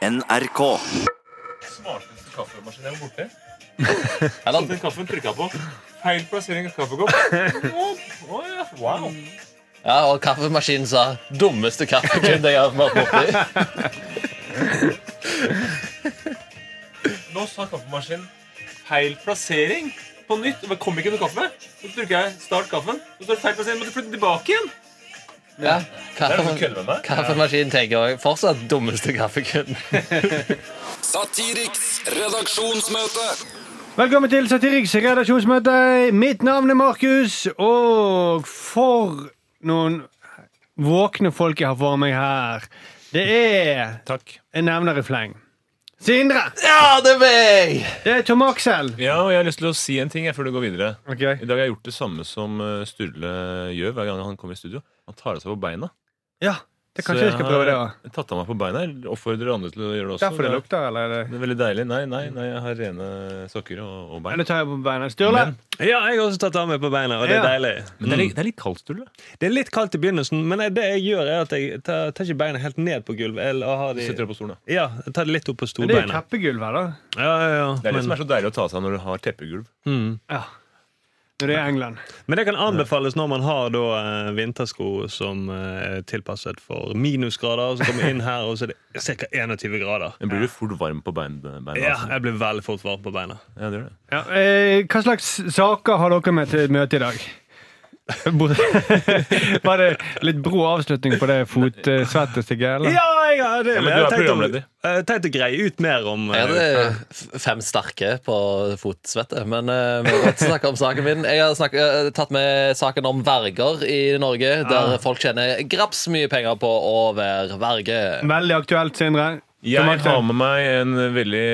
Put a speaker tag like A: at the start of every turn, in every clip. A: NRK.
B: smarteste kaffemaskinen jeg var borti. Jeg satte inn kaffen, trykka på. Feil plassering av kaffekopp. Å, å ja, wow.
C: Ja, og kaffemaskinen sa 'dummeste kaffekunde jeg har vært borti'.
B: Nå sa kaffemaskinen feil plassering på nytt. Det kom ikke noe kaffe. Så trykker jeg 'start kaffen'. Så står det feil plassering. Måtte flytte tilbake igjen.
C: Ja,
B: Det er noe
C: kaffe,
B: kødd med meg.
C: kaffemaskinen tenker også fortsatt 'dummeste kaffekunden'.
D: Satiriks redaksjonsmøte.
E: Velkommen til Satiriks redaksjonsmøte. Mitt navn er Markus, og for noen våkne folk jeg har for meg her. Det er
B: Takk.
E: Jeg nevner i fleng. Sindre!
C: Ja, det er meg!
E: Det er Tom Aksel.
B: Ja, og Jeg har lyst til å si en ting jeg, før du går videre.
E: Ok.
B: I dag har jeg gjort det samme som eh, Sturle gjør hver gang han kommer i studio. Han tar av seg på beina.
E: Ja, det
B: Så
E: kanskje jeg skal prøve det òg.
B: har tatt av meg på beina. Jeg Oppfordrer andre til å gjøre det også.
E: Derfor det lukter, eller? er
B: Det
E: det-
B: er veldig deilig. Nei, nei, nei, jeg har rene sokker og, og
E: Ja,
B: bein.
E: Nå tar jeg på beina. Sturle?
F: Ja, jeg har også tatt av meg på beina, og det er
E: Ja.
F: deilig.
B: Men det er litt, det er litt kaldt, Sturle.
F: Det er litt kaldt i begynnelsen, men det jeg gjør, er at jeg tar, tar ikke beina helt ned på gulvet. Eller har
B: Du
F: de,
B: setter deg på stolen, da.
F: ja, jeg tar det litt opp på
E: Men det er jo
F: storbeina.
E: teppegulv her, da.
F: Ja, ja, ja.
B: Det er det som
F: Men,
B: er så deilig å ta seg av når du har teppegulv.
E: Ja. Når det er England.
F: men det kan anbefales når man har da, eh, vintersko som eh, er tilpasset for minusgrader. Så kommer jeg inn her, og så er det ca. 21 grader.
B: Men blir du fort varm på bein, beina?
F: Ja,
B: altså?
F: jeg blir veldig fort varm på beina.
B: ja, det gjør det.
E: Ja, eh, hva slags saker har dere med til møtet i dag? Bort- Var det litt brå avslutning på det fotsvettestykket, eller?
F: Ja, jeg har det.
B: Ja, men
F: jeg
B: du
F: har
B: er
F: tenkt å-
B: programleder.
F: Jeg har tenkt å greie ut mer om
C: Jeg
F: eh,
C: hadde f- fem sterke på fotsvette, men eh, vi kan godt snakke om saken min. Jeg har snakket, eh, tatt med saken om verger i Norge, der folk tjener graps mye penger på å være verge.
E: Veldig aktuelt, Sindre. Tom
B: Jeg
E: Aksel.
B: har med meg en veldig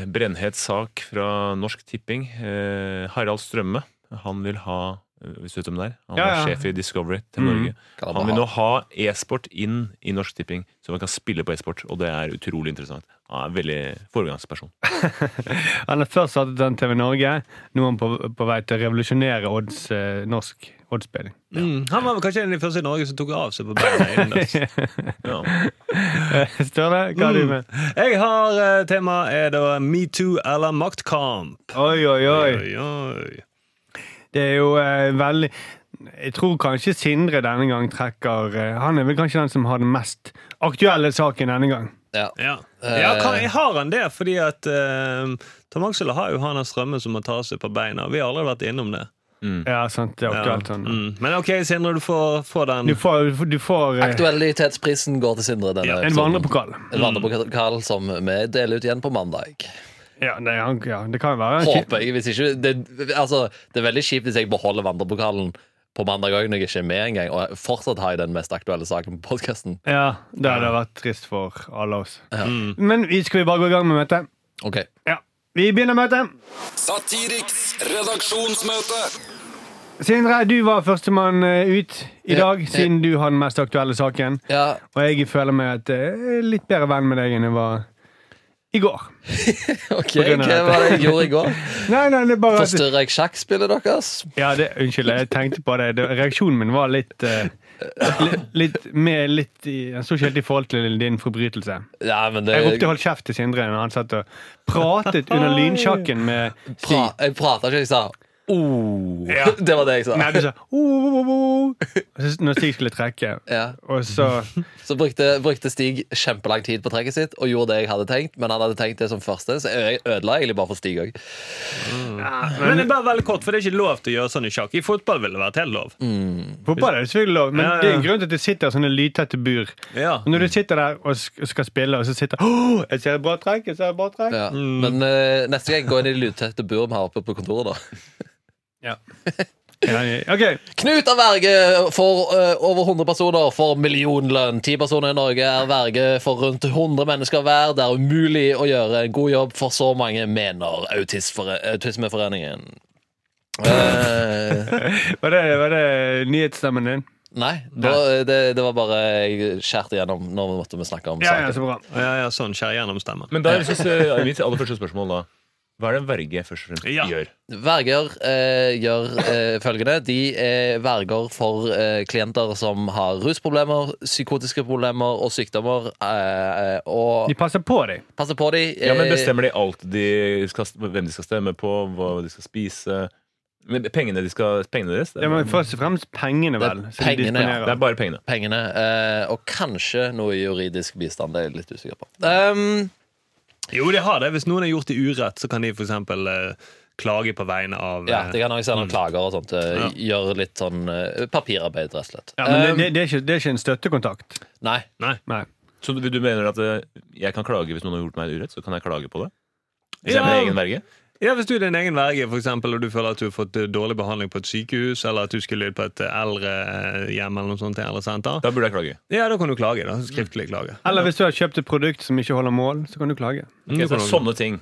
B: eh, brennhet sak fra Norsk Tipping. Eh, Harald Strømme. Han vil ha eh, hvis du vet hvem det er, han
E: Ja,
B: er
E: ja.
B: sjef i Discovery til Norge.
C: Kan han
B: Han vil
C: ha-
B: nå ha e-sport inn i Norsk Tipping, så man kan spille på e-sport. Og det er utrolig interessant. Han er en veldig foregangsperson.
E: Han har først startet den TV Norge. Nå er han på, på vei til å revolusjonere odds, eh, norsk oddsspilling.
F: mm, Han var vel kanskje en av de første i Norge som tok av seg på beina. innendørs.
B: Ja.
E: Sturle, hva har du med?
F: Jeg har eh, tema er da metoo eller maktkamp.
E: Oi, oi, oi.
F: Oi, oi.
E: Det er jo eh, veldig Jeg tror kanskje Sindre denne gang trekker eh, Han er vel kanskje den som har den mest aktuelle saken denne gang.
C: Ja.
F: Ja.
C: Eh.
F: ja, kan, jeg har han det, fordi at eh, Tom Axel har jo han av strømmen som må ta seg på beina. Vi har aldri vært innom det.
E: Ja, sant. Det er
F: Ja.
E: aktuelt. Sånn.
F: Mm. Men OK, Sindre, du får, får den.
E: Du får, du får eh,
C: Aktualitetsprisen går til Sindre denne
F: Ja,
E: en
C: episoden.
E: vandrepokal.
C: En vandrepokal som vi deler ut igjen på mandag.
E: Ja, det, han- ja, det kan jo være. en
C: Håper jeg, hvis ikke det, altså, det er veldig kjipt hvis jeg beholder vandrepokalen på mandag òg når jeg ikke er med engang, og jeg fortsatt har jeg den mest aktuelle saken på podkasten.
E: Ja, Det hadde vært trist for alle oss. Men vi- skal vi bare gå i gang med møtet?
C: Ok.
E: Ja. Vi begynner møtet.
D: Satiriks redaksjonsmøte.
E: Sindre, du var førstemann eh, ut i
C: Ja.
E: dag, siden du har den mest aktuelle saken.
C: Ja,
E: Og jeg føler meg at jeg er litt bedre venn med deg enn jeg var i går.
C: ok,
E: På grunn av
C: Hva
E: dette.
C: var det jeg gjorde i går?
E: Nei, nei, det er bare at
C: Forstyrrer jeg sjakkspillet deres?
E: ja, det, Unnskyld, jeg tenkte på det. det. Reaksjonen min var litt eh, li- Litt med litt i, Den sto ikke helt i forhold til din forbrytelse.
C: Ja, men det
E: Jeg ropte 'hold kjeft' til Sindre når han satt og pratet under lynsjakken med
C: pra, Jeg prata ikke, jeg sa oh. Det var det jeg sa.
E: Nei, du sa oh, oh, oh, oh. Og så Når Stig skulle trekke.
C: Ja.
E: Og så
C: Så brukte, brukte Stig kjempelang tid på trekket sitt og gjorde det jeg hadde tenkt, men han hadde tenkt det som første, så jeg ødela egentlig bare for Stig òg.
F: Men det er bare veldig kort, for det er ikke lov til å gjøre sånn i sjakk. I fotball ville det vært helt lov.
C: Mm.
E: Fotball er jo selvfølgelig lov, men
F: Ja, ja.
E: det er en grunn til at det sitter sånne lydtette bur.
F: Ja.
E: Og når du sitter der og sk- skal spille, og så sitter oh, Jeg ser et bra trekk, jeg ser et bra trekk.
C: Ja. Men eh, neste gang gå inn i det lydtette buret vi har oppe på kontoret, da.
E: Ja. Ja, ja. OK.
C: Knut er verge for eh, over 100 personer for millionlønn. 10 personer i Norge er verge for rundt 100 mennesker hver. Det er umulig å gjøre en god jobb for så mange, mener Autisfore- Autismeforeningen. Eh,
E: Var det, var det nyhetsstemmen din?
C: nei, det var, det, det var bare jeg skjærte igjennom når vi måtte vi snakke om
E: Ja, ja,
C: saken.
E: så bra.
F: Ja, ja, sånn skjær gjennom stemmen.
B: Men da er det så- så- mitt aller første spørsmål da.
A: Hva er det en verge først og fremst
F: Ja.
A: gjør?
C: Verger eh, gjør eh, følgende. De er verger for eh, klienter som har rusproblemer, psykotiske problemer og sykdommer. Eh, og
E: De passer på deg.
C: passer på eh, dem.
A: Ja, men Bestemmer de alt de skal, hvem de skal stemme på, hva de skal spise men Pengene, de skal, pengene deres? Det
E: Det
A: er,
E: var først og fremst pengene,
C: Det er
E: vel. som de
C: pengene, ja.
E: disponerer.
A: det er bare pengene.
C: pengene. Eh, og kanskje noe juridisk bistand. Det er jeg litt usikker på. Ehm,
F: Jo, de har det. Hvis noen har gjort det urett, så kan de f.eks. Eh, klage på vegne av
C: ja, De
F: eh,
C: kan også sende
E: Mm.
C: klager og sånt. eh, Gjøre litt sånn eh, papirarbeid, rett og slett.
E: Ja, men det,
C: Ehm,
E: det, det, er ikke, det er ikke en støttekontakt.
C: Nei.
F: Nei.
E: Nei.
A: Så du, du mener at eh, jeg kan klage hvis noen har gjort meg urett? Så kan jeg klage på det? Hvis
F: Ja.
A: jeg er min egen verge?
F: Ja, Hvis du er din egen verge for eksempel, og du føler at du har fått eh, dårlig behandling på et sykehus, eller at du skulle på et eh, eldrehjem eller noe sånt, eldresenter,
A: Da burde jeg klage.
F: ja, da kan du klage. da, Skriftlig klage.
E: Eller hvis du har kjøpt et produkt som ikke holder mål, så kan du klage.
F: Mm.
A: Ok, så det er sånne ting.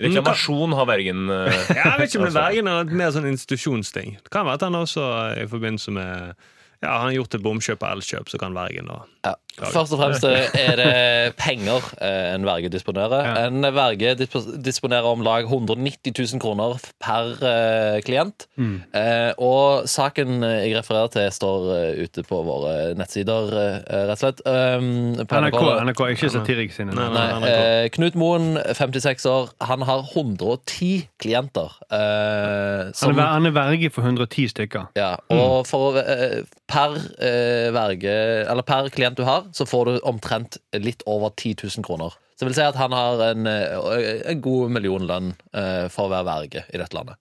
A: Reklamasjon har vergen eh,
F: Ja, jeg vet ikke om det
B: Altså.
F: er vergen eller et mer sånn institusjonsting. Det kan være at han også eh, i forbindelse med ja, han har gjort et bomkjøp og elkjøp, så kan vergen da
C: Ja. Først og fremst eh, er det penger eh, en verge disponerer. En verge disp- disponerer om lag 190 000 kroner per eh, klient.
E: Mm.
C: Eh, og saken jeg refererer til, står eh, ute på våre nettsider, eh, rett og slett. Um, på
E: NRK,
C: NRK.
E: NRK ikke Satirik sine.
F: Nei,
C: Nei,
F: NRK.
C: eh, Knut Moen, 56 år, han har 110 klienter. Eh,
E: Han
C: som,
E: er, ver- han er verge for 110 stykker.
C: ja, og for, å, eh, per, eh, verge, eller per klient du har, så får du omtrent litt over 10 000 kroner. Så det vil si at han har en, eh, en god million lønn eh, for å være verge i dette landet.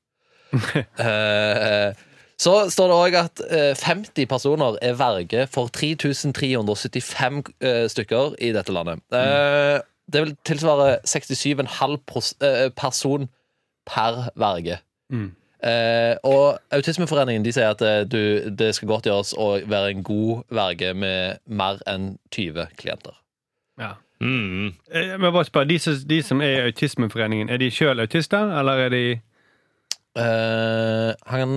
C: Eh, så står det òg at eh, 50 personer er verge for 3375 eh, stykker i dette landet. Eh, Det vil tilsvare 67,5 pros- eh, person per verge.
E: Mm.
C: Eh, og Autismeforeningen de sier at eh, du, det skal godt gjøres å være en god verge med mer enn 20 klienter.
E: Ja.
F: mm.
E: Eh, Men bare spør, de, som- de som er i Autismeforeningen, er de sjøl autister, eller er de
C: Eh, han,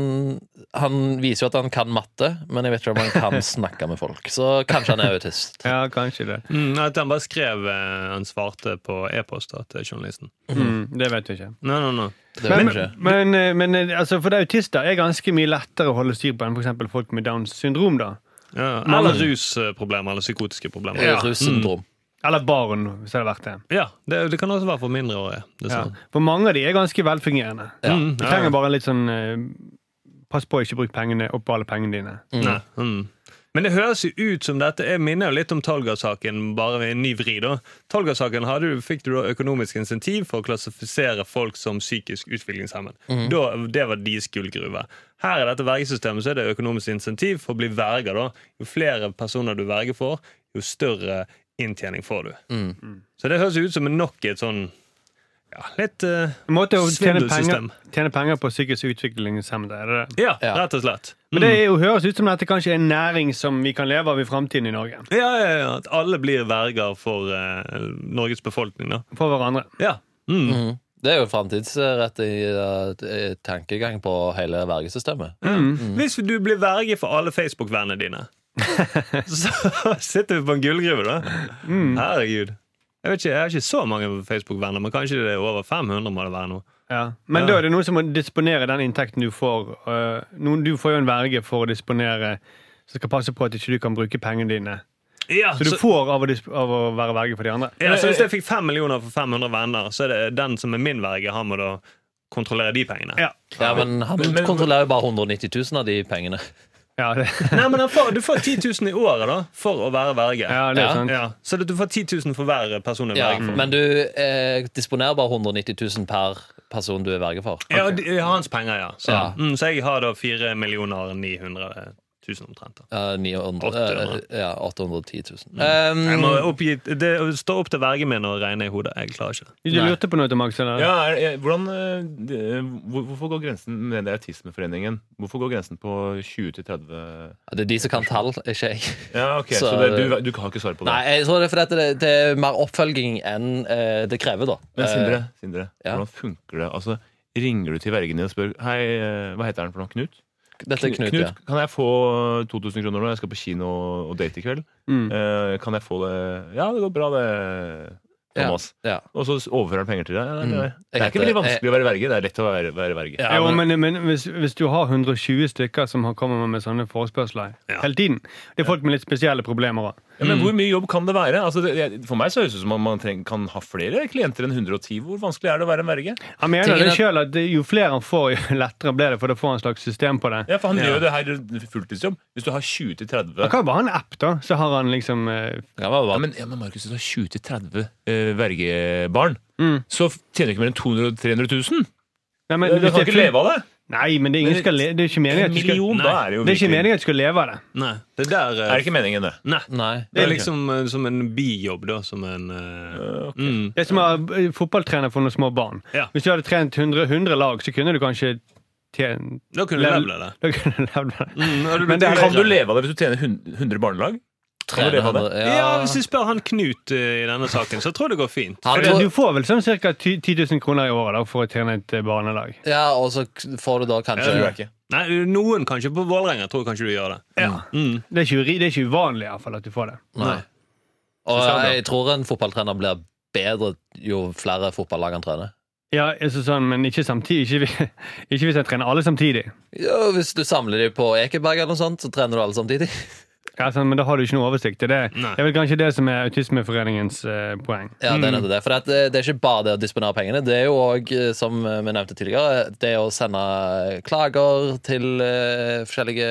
C: han viser jo at han kan matte, men jeg vet ikke om han kan snakke med folk. Så kanskje han er autist.
E: Ja, kanskje det.
F: Mm, nei, at han bare skrev eh, Han svarte på e-post da, til journalisten.
E: Mm, det vet vi ikke.
F: Nei, nei, nei.
C: Det
E: Men,
C: vet jeg ikke.
E: men, eh, men eh, altså, for det autister er ganske mye lettere å holde styr på enn f.eks. folk med Downs syndrom. da.
F: Ja, eller rusproblemer eller psykotiske problemer.
C: Ja.
F: Ja,
C: Russyndrom.
E: Eller barn, hvis det hadde vært det.
F: ja det, det kan også være for mindreårige.
E: Ja.
F: dessverre.
E: For mange av de er ganske velfungerende.
C: Ja.
F: Mm,
E: De trenger bare litt sånn eh, Pass på å ikke bruke pengene opp på alle pengene dine.
F: Nei. Mm. Men det høres jo ut som dette Jeg minner jo litt om Tolga-saken, bare med en ny vri. da. Tolga-saken hadde du- fikk du da økonomisk insentiv for å klassifisere folk som psykisk utviklingshemmet. Da, det var deres gullgruve. Her i dette vergesystemet så er det økonomisk insentiv for å bli verger. da. Jo flere personer du verger for, jo større inntjening får du. Så det høres jo ut som nok et sånn ja, litt eh,
E: En måte å tjene penger,
F: Svindelsystem.
E: tjene penger på psykisk utviklingshemmede. Er det det?
F: ja,
C: Ja.
F: rett og slett. Mm.
E: Men det er jo, høres ut som dette kanskje er en næring som vi kan leve av i framtiden i Norge.
F: Ja, ja, ja. At alle blir verger for eh, Norges befolkning, da.
E: For hverandre.
F: Ja. Mm.
C: Det er jo framtidsrett i eh, tankegang på hele vergesystemet.
F: Mm. Hvis du blir verge for alle Facebook-vennene dine, så sitter vi på en gullgruve, da. Herregud. Jeg vet ikke, jeg har ikke så mange Facebook-venner, men kanskje det er over 500 må det være nå.
E: Ja. Men da er det noen som må disponere den inntekten du får. øh, noen, du får jo en verge for å disponere som skal passe på at ikke du kan bruke pengene dine.
F: Ja,
E: Så du
F: så,
E: får av å, disp av å være verge for de andre.
F: ja, så hvis jeg fikk 5 millioner for 500 venner, så er det den som er min verge, han må da kontrollere de pengene.
E: Ja.
C: Ja, men han
A: men-
C: kontrollerer jo bare 190 000 av de pengene.
E: Ja, det,
F: Nei, men han får, Du får 10 000 i året da, for å være verge.
E: ja, det
C: Ja.
E: er sant.
F: Ja, så du får 10 000 for hver person du er
C: Ja,
F: verge for.
C: men du eh, disponerer bare 190 000 per person du er verge for.
F: Ja, de- ja, hans penger, ja. Så,
C: Ja.
F: Mm, så jeg har da 4 900 000 omtrent. da.
C: Eh, 900,
F: 800.
C: eh, ja, 810 000. Um,
F: Jeg må oppgi, det står opp til vergen min å regne i hodet. Jeg klarer ikke det.
E: Du
C: Nei.
E: lurte på noe, Max? Eller?
A: Ja, er, er, hvordan, eh, det- hvor, hvorfor går grensen med det Autismeforeningen? Hvorfor går grensen på 20 til 30
C: det er de som kan tall, ikke jeg.
A: Ja, ok,
C: Så
A: Så,
C: er
A: det,
C: det-
A: du, du har ikke svar på det?
C: Nei, jeg tror det er fordi at det, det er mer oppfølging enn eh, det krever, da.
A: Men Sindre,
C: Eh,
A: Sindre
C: ja.
A: hvordan funker det? Altså, ringer du til vergen din og spør Hei, eh, hva heter han for noe? Knut?
C: Eh, dette er Knut, ja.
A: kan jeg få 2000 kroner nå? Jeg skal på kino og date i kveld.
E: Mm.
A: Eh, kan jeg få det? Ja, det går bra, det. Thomas.
C: Ja.
A: Og så overfører han penger til deg. Ja, det, er- det er
C: heter-
A: ikke veldig vanskelig å være verge. Det er lett å være, være verge.
C: Ja,
E: Jo,
C: men-
E: men, men hvis, hvis du har 120 stykker som har kommet med sånne forespørsler hele tiden Det er folk med litt spesielle problemer òg.
A: Ja, men hvor mye jobb kan det være? Altså, det, jeg- for meg så høres det ut som om man treng, kan ha flere klienter enn 110. Hvor vanskelig er det å være en verge?
E: Han mener
C: Tingen
E: det
C: er-
E: selv at det- jo flere han får, jo lettere blir det, for da får han et slags system på det.
A: Ja, for han gjør jo det her fulltidsjobb. Hvis du har 20-30
E: Han kan jo bare ha en app, da, så har han liksom eh,
C: Ja, men,
A: ja,
C: hva-
A: men, ja, men Markus, hvis du har 20-30 eh, vergebarn, så tjener du ikke mer enn 200 000-300 000.
E: Nei, men,
A: Mm. Du
E: hvis det
A: kan
E: er
A: ikke
E: full-
A: leve av det.
E: Nei, men det er, ingen skal le det er ikke meningen at
A: En
E: du skal
A: million,
F: Nei.
A: da er det
E: Det er
A: jo
E: ikke
A: virkelig-
E: meningen at du skal leve av det.
F: Nei, det der eh,
A: Er det ikke meningen, det?
F: Nei.
C: nei.
F: Det er liksom eh, som en bijobb, da. Som en eh, mm.
E: Det er som å være eh, fotballtrener for noen små barn.
F: Ja.
E: Hvis du hadde trent 100, 100 lag, så kunne du kanskje tjent
F: Da kunne du
E: Lev-
F: levd av det.
E: Da kunne du levd med det.
F: Mm, hadde
E: Men
F: du blitt
E: det er-
A: Kan du
F: millionær.
A: leve av det hvis du tjener 100 100 barnelag? Kan du leve av det?
C: Trener-
F: Ja, hvis du spør han Knut eh, i denne saken, så tror jeg det går fint.
C: Han
E: Eller,
C: tror,
E: Du får vel sånn ca. 10 000 kroner i året da, for å trene et eh, barnelag.
C: ja, og så k- får du da kanskje
A: Tror jeg ikke.
F: Nei, Noen kanskje på Vålerenga tror jeg kanskje du gjør det. Mm.
E: Det er ikke, uri- det er ikke uvanlig i hvert fall at du får det.
C: Nei. Og jeg tror en fotballtrener blir bedre jo flere fotballag han trener.
E: Ja, altså sånn, Men ikke samtidig. Ikke, vi- ikke hvis jeg trener alle samtidig.
C: Ja, hvis du samler dem på Ekeberg, eller noe sånt, så trener du alle samtidig.
E: Ja, sånn, men da har du ikke noe oversikt. Det er, det.
F: Nei.
E: det er vel kanskje det som er Autismeforeningens eh, poeng.
C: Ja, det er nettopp det. For det, at, eh, det er ikke bare det å disponere pengene. Det er jo òg, som eh, vi nevnte tidligere, det å sende eh, klager til eh, forskjellige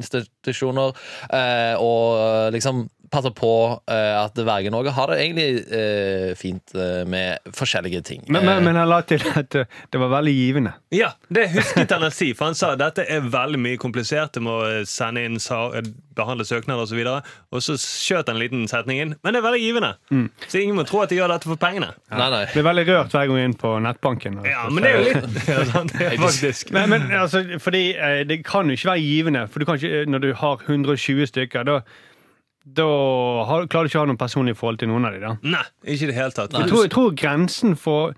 C: institusjoner. eh, og eh, liksom passe på eh, at vergen òg har det egentlig eh, fint eh, med forskjellige ting. Eh,
E: Men, men, men han la til at eh, det var veldig givende.
F: Ja, det husket han å si, for han sa dette er veldig mye komplisert. Du må eh, sende inn sa- eh, behandle søknader osv. Og, så videre. og så skjøt han en liten setning inn. Men det er veldig givende. Så ingen må tro at de gjør dette for pengene.
C: Eh, nei, nei.
E: Blir veldig rørt hver gang jeg er inn på nettbanken. og-
F: Ja, men det er jo litt ja, sant, det er faktisk.
E: Men, men altså, fordi eh, det kan jo ikke være givende. For du kan ikke, eh, når du har 120 stykker, da, da har, klarer du ikke å ha noe personlig forhold til noen av dem.
F: Nei, ikke i det hele tatt.
E: Jeg tror, jeg tror grensen for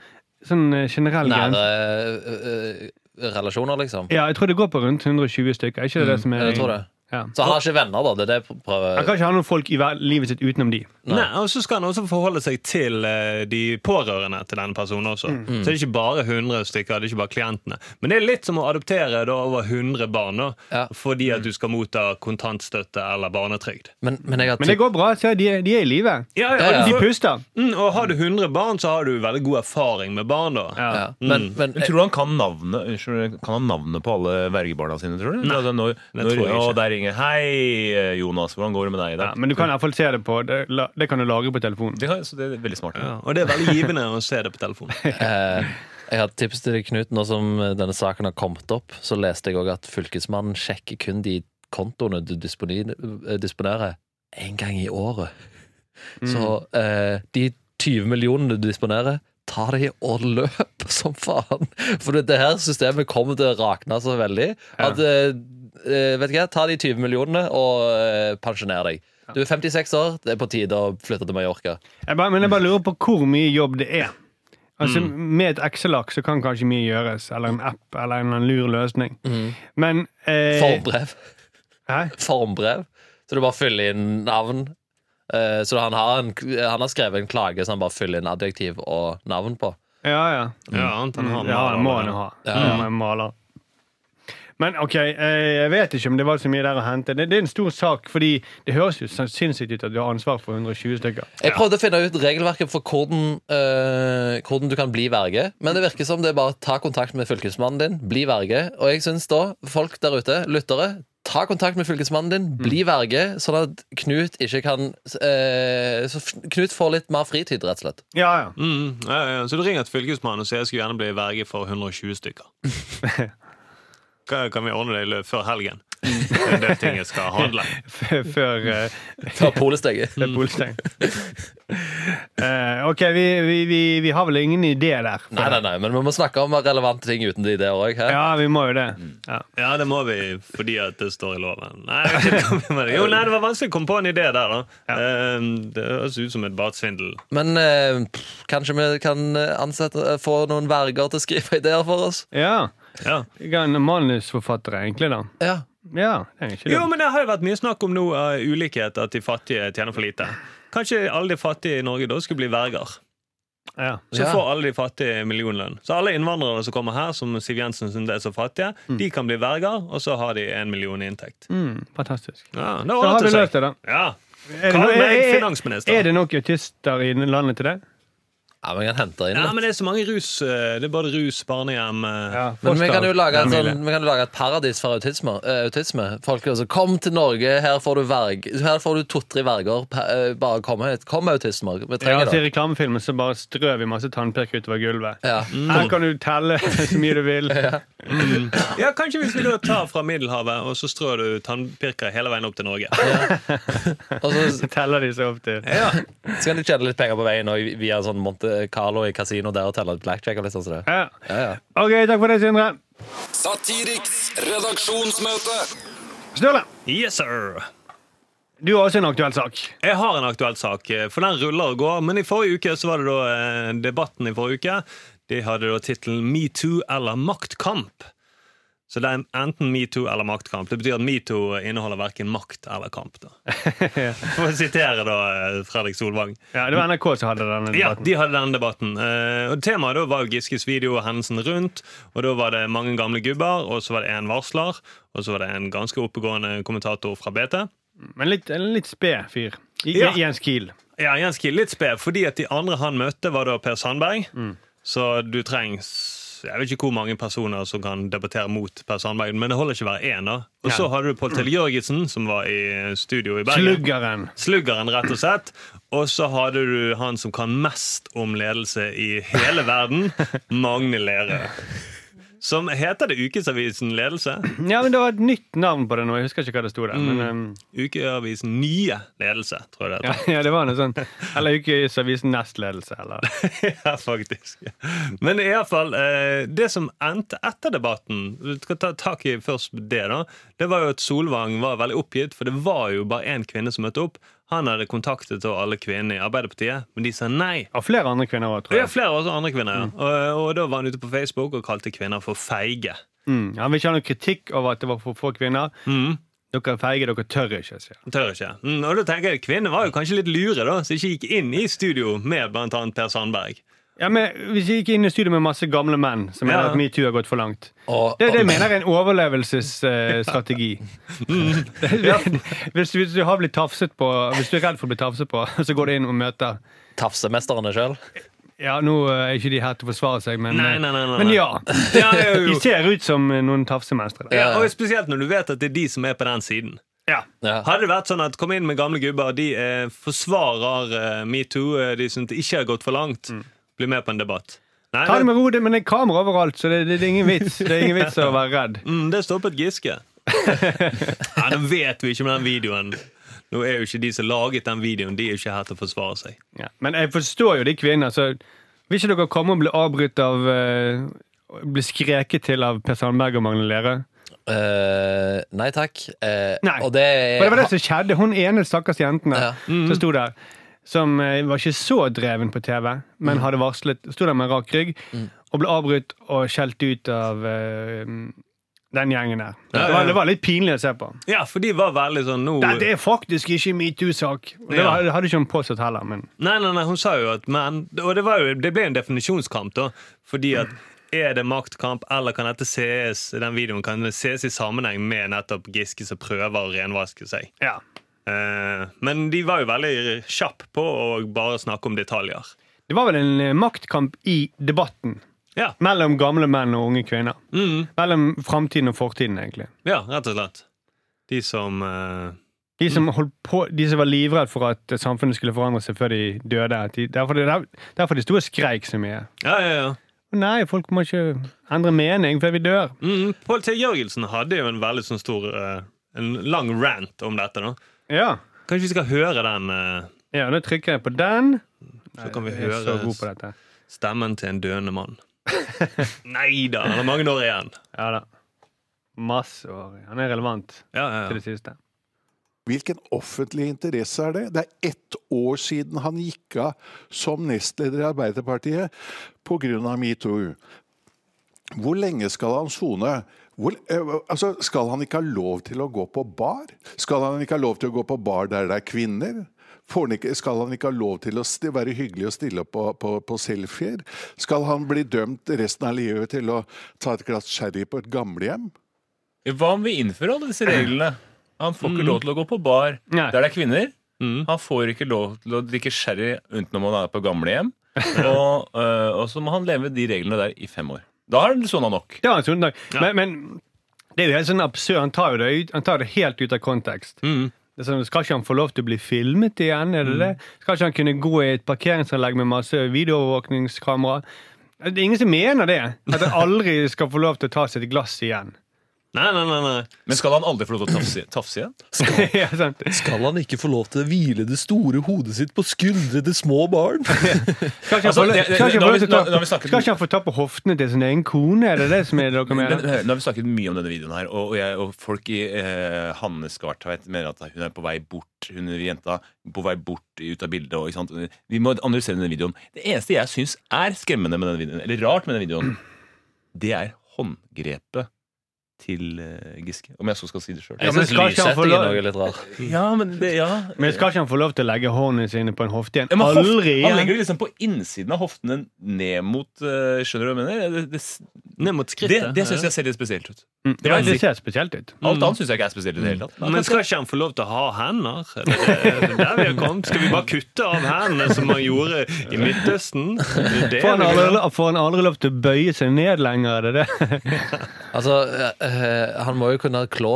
E: sånn eh, generell
C: Nære
E: grense
C: eh, eh, relasjoner, liksom.
E: Ja, jeg tror det går på rundt 120 stykker. Er ikke det det som er
C: Mm, Jeg tror det.
E: Ja.
C: Så han har ikke venner, da. Det er det jeg
E: Han
C: prøver
E: kan ikke ha noen folk i hver- livet sitt utenom de.
F: Nei, og så skal han også forholde seg til eh, de pårørende til denne personen også. Så det er ikke bare 100 stykker, det er ikke bare klientene. Men det er litt som å adoptere da, over 100 barn da,
C: Ja.
F: fordi at du skal motta kontantstøtte eller barnetrygd.
C: Men, men jeg har
E: Men det går bra. Se, de, er- de er i live.
F: Ja,
C: Ja, ja.
E: De
F: og-
E: puster.
F: Mm, og har du 100 barn, så har du veldig god erfaring med barn da.
C: ja. men, men,
A: Men tror du han kan navnet, unnskyld, kan han navnet på alle vergebarna sine, tror du? Nei, altså, når, når,
F: tror jeg
A: å,
F: ikke.
A: der ringer Hei, eh, Jonas, hvordan går det med deg i
E: Ja,
A: dag?
E: men du kan i hvert fall se det på Det, la- det kan du lagre på telefonen.
A: det, kan- så det er veldig smart.
F: Ja, og det er veldig givende å se det på telefonen.
C: Eh, jeg har et tips til deg, Knut. Nå som denne saken har kommet opp, så leste jeg òg at Fylkesmannen sjekker kun de kontoene du disponi- eh, disponerer én gang i året. Så eh, de 20 millionene du disponerer, ta de og løp som faen! For det, det her systemet kommer til å rakne så veldig at eh, eh, Vet du hva, ta de 20 millionene og eh, pensjoner deg. Du er 56 år, det er på tide å flytte til Mallorca.
E: Jeg bare, men jeg bare lurer på hvor mye jobb det er. Altså, Med et Excel-ark så kan kanskje mye gjøres, eller en app, eller en eller annen lur løsning. Men eh,
C: Forbrev.
E: Hæ?
C: formbrev. Så du bare fyller inn navn. Eh, Så han har, en, han har skrevet en klage som han bare fyller inn adjektiv og navn på.
E: Ja, ja.
F: Ja, annet enn han
E: ja,
F: har
E: det må han
F: allerede.
E: jo ha. Ja. men maler. Men OK, eh, jeg vet ikke om det var så mye der å hente. Det, det er en stor sak, fordi det høres jo sånn sinnssykt ut at du har ansvar for 120 stykker.
C: Jeg prøvde å finne ut regelverket for hvordan, eh, hvordan du kan bli verge, men det virker som det er bare å ta kontakt med fylkesmannen din, bli verge. Og jeg syns da, folk der ute, lyttere, ta kontakt med fylkesmannen din, bli verge, sånn at Knut ikke kan eh, Så f- Knut får litt mer fritid, rett og slett.
E: Ja, ja.
F: Mm, ja, ja. Så du ringer til fylkesmannen og sier jeg skulle gjerne bli verge for 120 stykker. Kan, kan vi ordne det i lø- før helgen? Det er det ting jeg skal handle.
E: F- Før eh,
C: Ta polesteget.
E: det er polstein. Eh, OK, vi, vi, vi, vi har vel ingen idé der.
C: Nei, nei, nei, men vi må snakke om relevante ting uten de ideer òg.
E: Ja, vi må jo det.
C: Mm.
E: Ja.
F: Ja, det må vi fordi at det står i loven. Nei, jeg vet ikke om vi må det. Jo, nei, det var vanskelig å komme på en idé der, da. Eh, Det høres ut som et batsvindel.
C: Men eh, pff, kanskje vi kan eh, ansette, eh, få noen verger til å skrive ideer for oss?
E: Ja.
F: Ja.
E: Jeg er en manusforfatter, egentlig, da.
C: Ja.
E: Ja, det er ikke
F: Jo,
E: dumt.
F: men det har jo vært mye snakk om nå eh, ulikhet, at de fattige tjener for lite. Kanskje alle de fattige i Norge da skulle bli verger?
E: Ja.
F: Så
C: Ja.
F: får alle de fattige millionlønn. Så alle innvandrere som kommer her, som Siv Jensen synes er så fattige, de kan bli verger, og så har de en million i inntekt.
E: Mm, fantastisk.
F: Ja,
E: Da har vi løst det, da.
F: Ja.
E: Er det,
F: Kall
E: no-
F: meg
E: er, er,
F: finansminister.
E: er det nok autister i landet til det?
C: Ja, men jeg kan hente inn
F: Ja,
C: litt.
F: men det er så mange rus. eh, Det er både rus, barnehjem eh,
C: Men vi
E: forstår.
C: kan jo lage, en
F: Ja,
C: sånn,
F: Emilie.
C: vi kan jo lage et paradis for autisme. eh, autisme. Folk er sånn, Kom til Norge, her får du, verg, her får du to-tre verger. pa- eh, Bare kom hit. Kom, autisme. Vi
E: Ja,
C: trenger
E: altså I
C: det.
E: reklamefilmer så bare strør vi masse tannpirk utover gulvet.
C: Ja.
E: Her kan du telle så mye du vil.
F: Ja, Kanskje hvis vi da tar fra Middelhavet og så strør du tannpirker hele veien opp til Norge.
C: Og så
E: Så teller de seg opp til
F: Ja,
C: så kan du tjene litt penger på veien og via en sånn Monte Carlo i kasino der og telle ut blackjack. og litt sånn som det.
E: ja.
C: Ja, ja.
E: OK, takk for det, Sindre.
D: Satiriks redaksjonsmøte.
E: Sturle,
F: yes sir
E: du har også en aktuell sak.
F: Jeg har en aktuell sak, eh, for den ruller og går. Men i forrige uke så var det da eh, debatten i forrige uke. De hadde da tittelen Metoo eller maktkamp. Så det er enten metoo eller maktkamp. Det betyr at metoo inneholder verken makt eller kamp. da. For å sitere da eh, Fredrik Solvang.
E: Ja, Det var NRK som hadde denne
F: Ja,
E: debatten.
F: de hadde den debatten. Eh, og Temaet da var jo Giskes video og hendelsen rundt. Og Da var det mange gamle gubber, og så var det en varsler, og så var det en ganske oppegående kommentator fra BT.
E: Men litt, en litt sped fyr. I,
F: Ja.
E: Jens Kiel.
F: Ja, Jens Kiel litt sped, fordi at de andre han møtte, var da Per Sandberg.
E: Mm.
F: Så du trengs Jeg vet ikke hvor mange personer som kan debattere mot Per Sandberg, men det holder ikke å være én. da. Og så hadde du Pål Telje Jørgensen, som var i studio i Bergen.
E: Sluggeren.
F: Sluggeren, rett og slett. Og så hadde du han som kan mest om ledelse i hele verden, Magne Lerøe. Som heter det Ukesavisen Ledelse?
E: Ja, men Det var et nytt navn på det nå. Jeg husker ikke hva det sto der.
F: Mm.
E: Men, um,
F: Ukeavisen Nye Ledelse, tror jeg det
E: ja,
F: heter.
E: ja, det var noe sånn Eller Ukesavisen Nestledelse, eller
F: Ja, faktisk. Men iallfall eh, Det som endte etter debatten Du skal ta tak i først det, da. Det var jo at Solvang var veldig oppgitt, for det var jo bare én kvinne som møtte opp. Han hadde kontaktet da alle kvinnene i Arbeiderpartiet, men de sa nei.
E: Og flere andre kvinner òg, tror
F: Ja,
E: jeg.
F: flere også andre kvinner, ja. Og, og da var han ute på Facebook og kalte kvinner for feige.
E: Mm. Han vil ikke ha noe kritikk over at det var for få kvinner.
F: Mm.
E: Dere er feige, dere tør ikke, sier han.
F: Tør ikke. Mm, og da tenker jeg, Kvinner var jo kanskje litt lure, da, så ikke gikk inn i studio med blant annet Per Sandberg.
E: Ja, men Hvis vi gikk inn i studio med masse gamle menn som mener
F: Ja.
E: at metoo har gått for langt
C: Og,
E: Det, det mener jeg er en overlevelsesstrategi.
F: Mm.
E: hvis, hvis du har blitt tafset på Hvis du er redd for å bli tafset på, så går du inn og møter
C: og tafsemesterne sjøl.
E: Ja, nå eh, er ikke de her til å forsvare seg, men, eh,
F: Nei, nei, nei, nei,
E: men
F: nei.
E: ja.
F: Ja, jo,
E: De
F: jo.
E: ser ut som eh, noen tafsemestere.
F: Ja, og Spesielt når du vet at det er de som er på den siden.
E: Ja.
C: Ja.
F: Hadde det vært sånn at kom inn med gamle gubber, de eh, forsvarer eh, metoo, eh, de syns det ikke har gått for langt, bli med på en debatt. Nei,
E: Ta det
F: det,
E: med ro, det- men det er kamera overalt, så det, det, er ingen vits Det er ingen vits å være redd.
F: mm, det stoppet Giske. Nei, Nå vet vi ikke om den videoen. Nå er jo ikke de som laget den videoen, de er jo ikke her til å forsvare seg.
E: Ja. Men jeg forstår jo de kvinner, så vil ikke dere komme og bli avbrutt av eh, Bli skreket til av Per Sandberg og Magne Lerøe?
C: Eh, nei takk. Eh,
E: Nei.
C: Og det er
E: For det var det som skjedde. Hun ene stakkars jenten der
C: Ja.
F: Mm.
E: som sto der, som eh, var ikke så dreven på TV,
C: Mm.
E: men hadde varslet, sto der med rak rygg og ble avbrutt og skjelt ut av eh, den gjengen der.
F: Ja, Oh,
E: Det, var,
F: ja.
E: det var litt pinlig å se på.
F: Ja, for de var veldig sånn nå
E: Dette er faktisk ikke metoo-sak. Og Det
F: Ja.
E: var- det hadde ikke hun påstått heller, men
F: Nei, nei, nei, hun sa jo at men Og det, var jo, det ble en definisjonskamp, da. Fordi at er det maktkamp, eller kan dette sees den videoen kan det sees i sammenheng med nettopp Giske som prøver å renvaske seg?
E: ja.
F: Eh, men de var jo veldig kjapp på å bare snakke om detaljer.
E: Det var vel en eh, maktkamp i debatten.
F: Ja,
E: Mellom gamle menn og unge kvinner. Mellom framtiden og fortiden, egentlig.
F: ja rett og slett. De som eh,
E: De som, holdt på, de som var livredd for at samfunnet skulle forandre seg før de døde. at De, derfor, de, derfor de sto og skreik så mye.
F: Ja, ja, ja.
E: Nei, folk må ikke endre mening før vi dør.
F: Mm, Pål T. Jørgensen hadde jo en veldig sånn stor eh, En lang rant om dette, da.
E: Ja,
F: Kanskje vi skal høre den? eh,
E: ja nå trykker jeg på den.
F: så kan vi
E: Jeg er så
F: høre
E: god på dette.
F: Stemmen til en døende mann. Nei da, han har mange år igjen.
E: Ja da. Masse år. Han er relevant
F: Ja, ja,
E: til
F: ja.
E: det siste.
G: Hvilken offentlig interesse er det? Det er ett år siden han gikk av som nestleder i Arbeiderpartiet pga. metoo. Hvor lenge skal han sone? Hvor, eh, altså, skal han ikke ha lov til å gå på bar? Skal han ikke ha lov til å gå på bar der det er kvinner? Får han ikke, skal han ikke ha lov til å sti- være hyggelig og stille opp på, på, på selfier? Skal han bli dømt resten av livet til å ta et glass sherry på et gamlehjem?
A: Hva om vi innfører alle disse reglene? Han får ikke lov til å gå på bar
E: Nei.
A: der det er kvinner. Han får ikke lov til å drikke sherry utenom han er på gamlehjem. og, øh, og så må han leve de reglene der i fem år. Da har han sona nok.
E: Det var en sundag. Men, men det er jo helt sånn absurd. Han tar, jo det, ut, han tar det helt ut av kontekst.
A: Mm.
E: Det er sånn, skal ikke han få lov til å bli filmet igjen? Er det det? Skal ikke han kunne gå i et parkeringsanlegg med masse videoovervåkningskamera? Det er ingen som mener det. At han aldri skal få lov til å ta sitt glass igjen.
F: Nei, nei, nei, nei.
A: Men skal han aldri få lov til å tafse, tafse igjen?
E: ja, sant?
C: Skal han ikke få lov til å hvile det store hodet sitt på skuldre til små barn?
E: Skal ikke han
A: Altså,
E: få lov-
A: det- det-
E: skal ikke han få
A: nå har
E: lov
A: vi-
E: til å
A: nå- nå har vi
E: ta-
A: snakket-
E: skal ikke han få ta på hoftene til sin egen kone? Er det det som er det dere
A: Men,
E: mener?
A: hør, nå har vi snakket mye om denne videoen her, og, og, jeg, og folk i eh, Hanne Skartveit mener at hun er på vei bort. Hun er jenta på vei bort ut av bildet. Og, ikke sant? Vi må analysere denne videoen. Det eneste jeg syns er skremmende med denne videoen, eller rart med denne videoen, det er håndgrepet til eh, Giske. Om jeg så skal si det sjøl.
E: Ja,
C: Jeg
E: men
C: syns
E: skal ikke han få
C: lyssettingen
E: lov-
C: òg er litt rar.
A: Ja, men det, ja.
E: Men skal ikke han få lov til å legge håndene sine på en hofte
A: Ja,
E: igjen?
A: men hoft-
E: Aldri
A: Han
E: igjen!
A: legger det liksom på innsiden av hoftene ned mot eh, Skjønner du hva jeg mener? Det, det,
F: Ned mot
A: det,
F: skrittet.
A: det syns jeg ser litt spesielt ut.
E: Mm,
A: Det var
E: ja, Det
A: sikkert-
E: ser spesielt ut.
A: Alt annet syns jeg ikke er spesielt i det hele tatt.
F: Men skal ikke han få lov til å ha hender? Er Det det er der vi har kommet. Skal vi bare kutte av hendene, som man gjorde i Midtøsten? Det er det
E: Får han,
F: vi vil ha.
E: aldri, får han aldri lov til å bøye seg ned lenger? Er det det?
C: Altså, eh, eh, han må jo kunne klå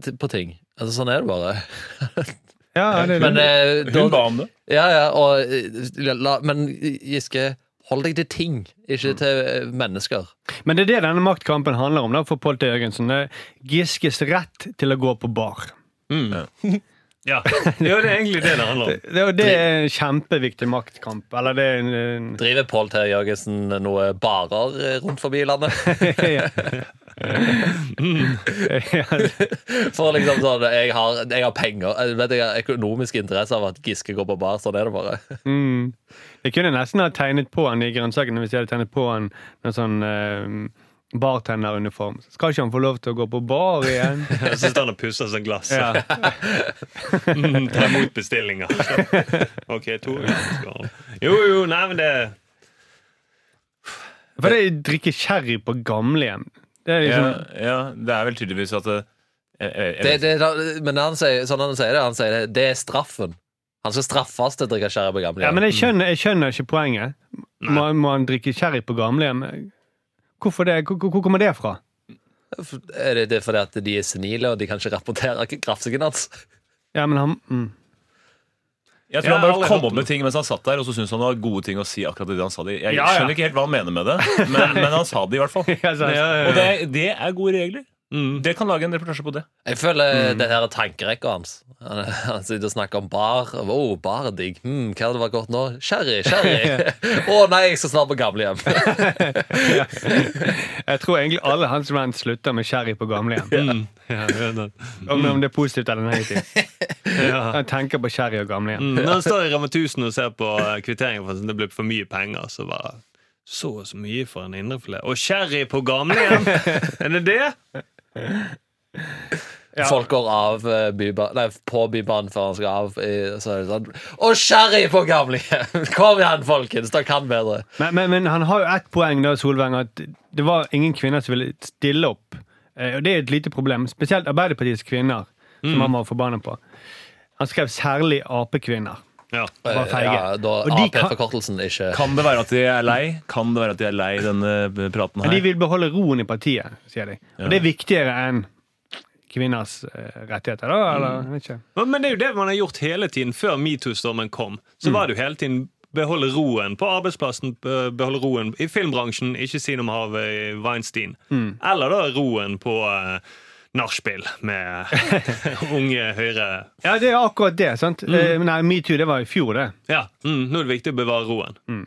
C: t- på ting. Altså, sånn er det bare.
E: Ja, det er
C: Men,
E: det.
C: eh, da-
A: Hun ba om det.
C: ja, ja, og, eh, la, men Giske, hold deg til ting, ikke til eh, mennesker.
E: Men det er det denne maktkampen handler om da, for Pål T. Jørgensen. Det er Giskes rett til å gå på bar.
F: Ja. ja, det er egentlig det det handler om.
E: Det, og det er en kjempeviktig maktkamp. Eller det er en, en
C: Driver Pål Terje Jørgensen noe barer eh, rundt forbi landet?
E: ja.
C: For liksom sånn, jeg har, jeg har penger Jeg vet jeg har økonomisk interesse av at Giske går på bar. Sånn er det bare.
E: Mm. Jeg kunne nesten ha tegnet på han i grønnsakene hvis jeg hadde tegnet på han med sånn eh, bartenderuniform. Skal ikke han få lov til å gå på bar igjen?
F: Jeg synes han har pusset seg glass.
E: Ja.
F: Mm, Ta imot bestillinger. Ok, to ganger. Jo, jo, nei, men det
E: For det er drikke sherry på gamlehjem. Det er liksom,
A: Ja, ja, det er vel tydeligvis at det, jeg, jeg, jeg,
C: det, det, men han sier, sånn han sier det, han sier det, det er straffen. Han skal straffes til å drikke sherry på
E: ja,
C: gamlehjem.
E: men jeg skjønner, jeg skjønner ikke poenget. Må, må han drikke sherry på gamlehjem? Hvorfor det? Hvor, hvor hvor kommer det fra?
C: Er det, det er fordi at de er senile, og de kan ikke rapportere grafsingen hans?
E: Ja, men han mm.
A: jeg tror
F: Jeg
A: han
F: har aldri
A: bare kom
F: hørt
A: opp med ting mens han satt der, og så syntes han det var gode ting å si akkurat det han sa det. Jeg
E: Ja, ja.
A: skjønner ikke helt hva han mener med det, men, men han sa det i hvert fall.
E: ja, sant.
A: Og det, det er gode regler. Det kan lage en reportasje på det.
C: Jeg
E: Mm.
C: føler det her er tankerekka hans. Han, han sitter og snakker om bar. Å, oh, bar er digg. Hmm, hva hadde vært godt nå? Sherry, sherry. Å nei, jeg skal snart på gamlehjem.
E: Jeg tror egentlig alle hans menn slutter med sherry på gamlehjem.
F: mm, ja, ja, da.
E: Om, om det er positivt eller negativt.
F: ja.
E: Han tenker på sherry og gamlehjem.
F: Mm, Når han står i Rema 1000 og ser på eh, kvitteringen for at det ble for mye penger, så bare Så og så mye for en indrefilet. Og sherry på gamlehjem! Er det det?
E: Ja.
C: Folk går av eh, byba- nei, på bybanen før han skal av. eh, Så er det sånn Å, sherry på gamlehjem! Kom igjen, folkens! Dere kan bedre.
E: Men, men, men han har jo ett poeng, da, Solveng, at det var ingen kvinner som ville stille opp. Eh, Og det er et lite problem. Spesielt Arbeiderpartiets kvinner, som
F: Mm.
E: han var forbanna på. Han skrev særlig Ap-kvinner.
F: Ja.
E: var
C: Eh,
E: feige.
C: Ja, da
E: Og de kan-
C: AP-forkortelsen ikke
A: Kan det være at de er lei? Kan det være at de er lei denne praten
E: De
A: her?
E: vil beholde roen i partiet, sier de. Og det er viktigere enn kvinners eh, rettigheter, da?
F: Mm.
E: Eller, jeg vet ikke.
F: Men- Men det er jo det man har gjort hele tiden før metoo-stormen kom. Så var det jo hele tiden beholde roen på arbeidsplassen, be- beholde roen i filmbransjen, ikke si noe om Harvey Weinstein. Eller da roen på uh, nachspiel med unge høyre...
E: Ja, det er akkurat det. sant?
F: Mm.
E: Eh, Nei, metoo, det var i fjor, det.
F: Ja, mm, nå er det viktig å bevare roen.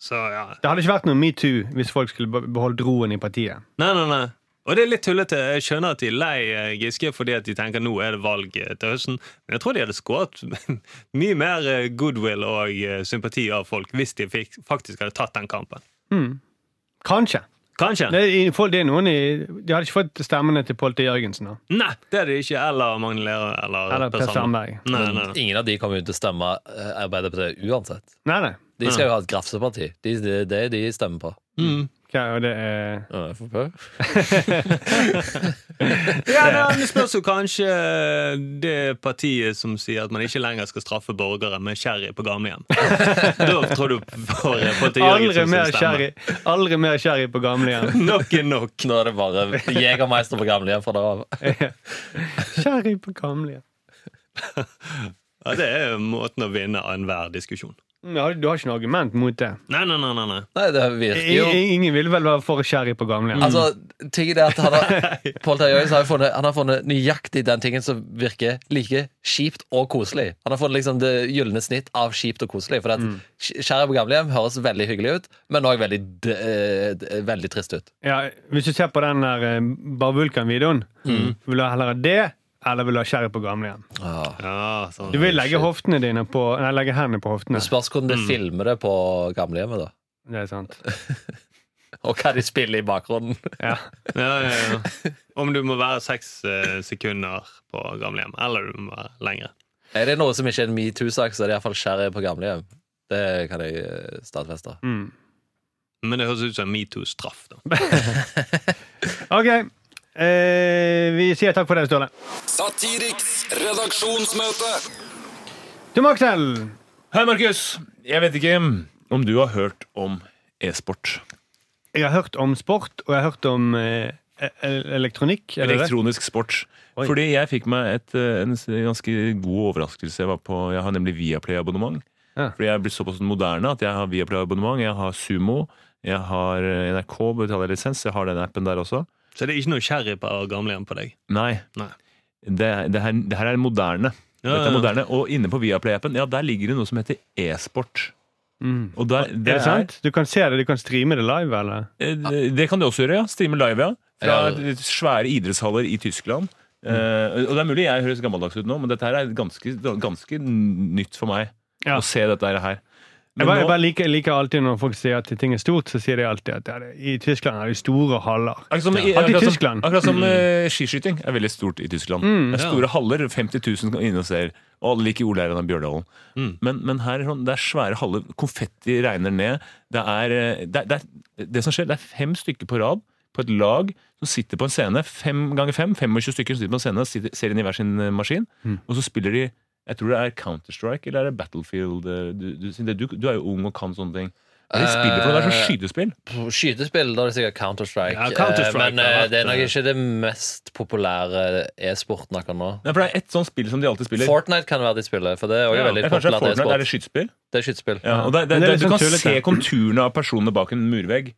F: Så ja.
E: Det hadde ikke vært noe metoo hvis folk skulle be- beholdt roen i partiet.
F: Nei, nei, nei. Og det er litt tullete. Jeg skjønner at de er lei eh, Giske fordi at de tenker nå er det valg eh, til høsten. Men jeg tror de hadde skåret mye mer eh, goodwill og eh, sympati av folk hvis de fikk, faktisk hadde tatt den kampen.
E: Kanskje.
F: Kanskje.
E: Det er, folk- det er noen i, de hadde ikke fått stemmene til Pål T. Jørgensen. da.
F: Nei, det er det ikke. Eller Magne Lerøe eller,
E: Eller Per Sandberg.
F: Nei, nei, nei.
C: Ingen av de kommer jo til å stemme eh, Arbeiderpartiet uansett.
E: Nei, nei.
C: De skal jo ha et grafseparti. Det de, de, de stemmer på.
E: Hva, og det er
C: Ja, FrP.
F: Ja, nei, det spørs jo kanskje eh, det partiet som sier at man ikke lenger skal straffe borgere med sherry på gamlehjem. da tror du får Pål T.
E: aldri
F: Jørgensen
E: mer
F: sin stemme.
E: sherry Aldri mer sherry på gamlehjem.
F: Nok er nok.
C: Nå er det bare Jegermeister på gamlehjem fra da av.
E: Sherry på gamlehjem.
F: Ja, det er måten å vinne enhver diskusjon.
E: Men har- Du har ikke noe argument mot det.
F: Nei, nei, nei, nei, nei.
C: Nei, det virker
E: I,
C: jo
E: i- ingen vil vel være for sherry på gamlehjem.
C: Altså, tingen er at han har, Paul Terje Jørgensen har jo funnet, han har funnet nøyaktig den tingen som virker like kjipt og koselig. Han har funnet liksom det gylne snitt av kjipt og koselig. For at Skjæret på gamlehjem høres veldig hyggelig ut, men òg veldig, d- eh, d- veldig trist ut.
E: Ja, hvis du ser på den der eh, Bar Vulkan-videoen, vil du heller ha det, eller vil du ha sherry på gamlehjem?
F: Ja, sånn.
E: Du vil legge hoftene dine på Nei, legge hendene på hoftene.
C: Det spørs hvordan de filmer det på gamlehjemmet, da.
E: Det er sant.
C: Og hva de spiller i bakgrunnen.
E: Ja.
F: Ja, ja, ja. Om du må være seks eh, sekunder på gamlehjem, eller du må være lenger.
C: Er det noe som ikke er en metoo-sak, så er det iallfall skjæret på gamlehjem. Det kan jeg eh, stadfeste.
E: Mm.
F: Men det høres ut som en metoo-straff. da.
E: Ok. Eh, vi sier takk for det, Ståle.
D: Satiriks redaksjonsmøte.
E: Tom Aksel!
A: Hei, Markus. Jeg vet ikke om du har hørt om e-sport.
E: Jeg har hørt om sport, og jeg har hørt om eh, e- elektronikk. er det det?
A: Elektronisk sport. Fordi jeg fikk meg et, eh, en s- ganske god overraskelse. Jeg, var på, jeg har nemlig Viaplay-abonnement.
E: Ja.
A: Fordi jeg er blitt såpass moderne at jeg har Viaplay-abonnement. Jeg har Sumo, jeg har eh, NRK, betaler lisens. Jeg har den appen der også.
F: Så det er ikke noe sherry på gamlehjem på deg.
A: Nei.
F: Nei.
A: Det, det, her, det her er moderne.
F: Ja,
A: Dette er
F: ja.
A: moderne. Og inne på Viaplay-appen ja, der ligger det noe som heter e-sport.
E: Mm.
A: Og der, det,
E: Er det sant? Du kan se det, du kan streame det live, eller?
A: Eh, Det kan du også gjøre, ja. Streame live, ja. Fra
C: Ja.
A: svære idrettshaller i Tyskland. Eh, og det er mulig jeg høres gammeldags ut nå, men dette her er ganske, ganske nytt for meg.
E: Ja.
A: Å se dette her.
E: Jeg
A: Men
E: bare, jeg
A: nå,
E: bare liker, liker alltid når folk sier at ting er stort, så sier de alltid at ja, det, i Tyskland er det store haller.
A: akkurat som,
E: Ja. Alltid
A: akkurat som,
E: Tyskland. Mm.
A: akkurat som eh, skiskyting er veldig stort i Tyskland. det er store haller, 50 000 inne og ser, og alle liker Oleiren av Bjørdalen.
E: Mm.
A: Men, men her er sånn, det er svære haller, konfetti regner ned. Det, er, eh, det, det, er, det som skjer, det er fem stykker på rad på et lag som sitter på en scene, fem ganger fem, 25 stykker som sitter på en scene og sitter, ser inn i hver sin eh, maskin,
E: Mm.
A: og så spiller de jeg tror det er Counter-Strike eller er det Battlefield. eh, Du, du, Sinde, du, du er jo ung og kan sånne ting. Hva er det de spiller for noe? Det er
E: Eh.
A: sånn skytespill.
C: Eh, På Skytespill, da er det sikkert Counter-Strike.
F: Ja, Counter-Strike
C: Eh, men
F: har
C: eh,
F: vært,
C: det er nok
F: eh,
C: ikke det mest populære e-sporten akkurat nå.
A: Nei, for det er ett sånt spill som de alltid spiller.
C: Fortnite kan være de spiller, for det er også
A: Ja,
C: veldig
A: det er kanskje
C: populært
A: Fortnite, er det
C: e-sport.
A: skytespill?
C: Det er skytespill.
A: Ja, og det, det,
E: Men det er
A: det,
E: litt
A: du
E: sånn
A: kan
E: tullete.
A: se konturene av personene bak en murvegg.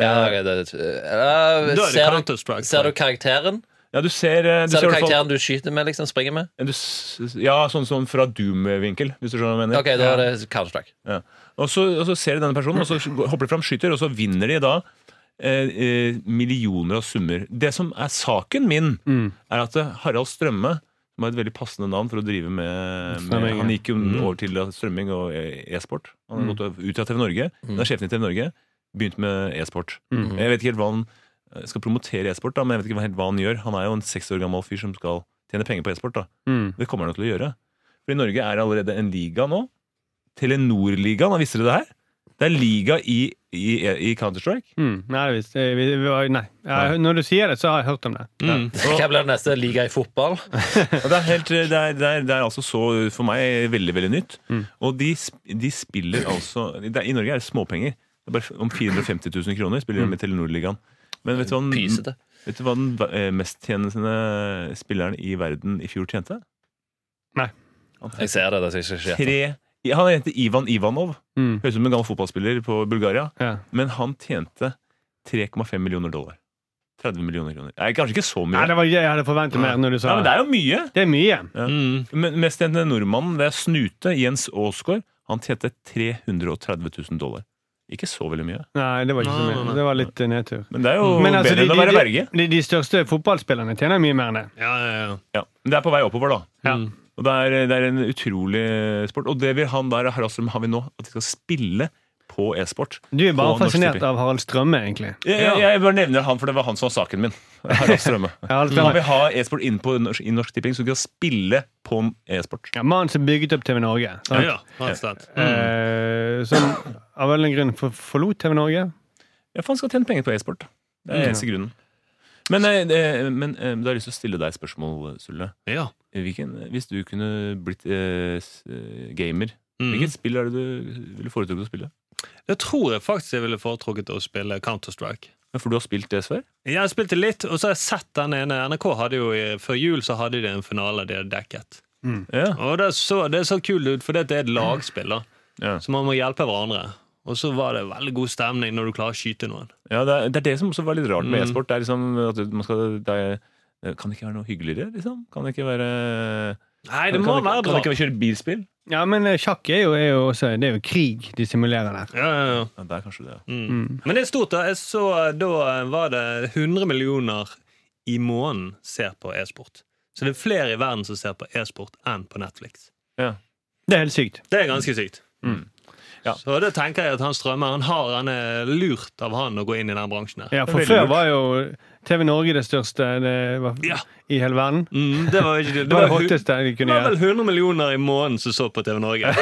C: Ja, ok, det, eh,
F: Da er det
C: ser, du,
F: Counter-Strike.
C: ser du karakteren?
A: Ja, du ser, eh, du
C: Ser
A: ser
C: du
A: i hvert fall-
C: karakteren du skyter med, liksom? Springer med?
A: du s- Ja, sånn, sånn fra Doom-vinkel, hvis du skjønner hva jeg mener.
C: Ok, da er det Counter-Strike.
A: Ja. Og, så, og så ser du denne personen, og så hopper de fram, skyter, og så vinner de da eh, eh, millioner av summer. Det som er saken min, er at eh, Harald Strømme som har et veldig passende navn for å drive med, med
E: Strømming,
A: Han gikk jo over til strømming og e- e-sport. Han har gått ut av TV Norge. Han er sjefen i TV Norge. Begynt med e-sport. Jeg vet ikke helt hva han jeg skal promotere e-sport, da, men jeg vet ikke helt hva han gjør. Han er jo en 60 år gammel fyr som skal tjene penger på e-sport. da.
E: Mm.
A: Det kommer han jo til å gjøre. For i Norge er det allerede en liga nå. Telenor-ligaen, da visste dere det her? Det er liga i, i, i Counter-Strike.
E: Mm. Nei, hvis, eh, vi, vi, var- nei. Ja, når du sier det, så har jeg hørt om det.
F: Mm.
C: Hva blir det neste? Liga i fotball?
A: Og det, er helt, eh, det, er, det, er, det er altså så, for meg, veldig veldig nytt.
C: Mm.
A: Og de, sp- de spiller altså det er, I Norge er det småpenger. Det er bare om 450 000 kroner spiller
C: Mm.
A: de med Telenor-ligaen. Men vet du hva den,
C: Pysete.
A: vet du hva den eh, mesttjenende spilleren i verden i fjor tjente?
E: Nei.
A: Han het
C: Jeg ser det. det skal jeg ikke skje.
A: tre, han heter Ivan Ivanov.
E: Mm.
A: Høres ut som en gammel fotballspiller på Bulgaria.
E: Ja.
A: Men han tjente 3,5 millioner dollar. 30 millioner kroner. Nei, kanskje ikke så mye.
E: Nei, det var, jeg hadde forventet mer når du
A: Nei,
E: sa
A: men
E: det.
A: det er jo mye!
E: Det er mye.
F: Mm.
A: Men mest tjente nordmannen, det er Snute, Jens Aasgaard. Han tjente 330 000 dollar. Ikke så veldig mye.
E: Nei, det var ikke så
F: Nei, nei,
E: mye.
F: nei.
E: Det var litt eh, nedtur.
A: Men det er jo
E: Men altså,
A: bedre
E: de,
A: enn å være
E: de,
A: verge.
E: de, de største fotballspillerne tjener mye mer enn det.
F: Ja, ja, ja.
A: Ja. Men det er på vei oppover, da.
E: Ja.
A: Og det er, det er en utrolig sport. Og det vil han der Harald Strøm har vi nå, at de skal spille på e-sport.
E: Du er bare
A: på Norsk
E: fascinert
A: Tipping.
E: av Harald Strømme, egentlig.
A: jeg, jeg, jeg bare nevner han, for det var han som var saken min. Harald Strømme.
E: Harald
A: Kan
E: Strømme.
A: vi ha e-sport inn på norsk, i Norsk Tipping, så vi kan spille på e-sport?
E: Ja, Mannen som bygget opp TV Norge.
F: Ja,
E: sant?
F: ja, rett og slett. Mm.
A: Mm.
E: Eh, som av en eller annen grunn for, forlot TV Norge.
A: Ja, for han skal tjene penger på e-sport. Det er eneste grunnen. Men, eh, eh, men eh, da har jeg lyst til å stille deg et spørsmål, Sulle.
F: Ja.
A: Hvilken, hvis du kunne blitt eh, s- eh, gamer,
F: Mm.
A: hvilket spill er det du ville foretrukket å spille?
F: Jeg tror jeg faktisk jeg ville foretrukket å spille Counter-Strike.
A: Ja, For du har spilt det før?
F: Jeg har spilt det litt, og så har jeg sett den ene. NRK hadde jo i- Før jul så hadde de en finale de hadde dekket.
A: Ja.
F: Og Det så, det så kult ut, for det er et lagspill, da.
A: Ja.
F: så man må hjelpe hverandre. Og så var det veldig god stemning når du klarer å skyte noen.
A: Ja, det er, det er det som også var litt rart med
F: Mm.
A: e-sport. Det er liksom at man skal det er, Kan det ikke være noe hyggeligere, liksom? Kan det ikke være
F: Nei,
A: kan,
F: det må
A: kan,
F: være
A: kan
F: bra.
A: det ikke være kjøre bilspill?
E: Ja, men eh, sjakk er jo, er jo også Det er jo krig de simulerer der.
F: Ja, ja, ja.
A: Ja, det er kanskje det. ja.
F: Mm. Men det er stort, da. Jeg så, da var det 100 millioner i måneden ser på e-sport. Så det er flere i verden som ser på e-sport enn på Netflix.
E: Det er helt sykt.
F: Det er ganske sykt.
A: Mm. Ja.
F: Så det tenker jeg at han Strømme han har han er lurt av han å gå inn i den bransjen her.
E: Ja, For
A: veldig
E: før
A: lurt.
E: var jo TV Norge det største det var,
F: Ja.
E: i hele verden.
F: Mm, det var, ikke,
E: Det
F: det,
E: var det
F: var, det
E: hotteste de kunne
F: var vel
E: gjøre.
F: 100 millioner i måneden som så på TV Norge.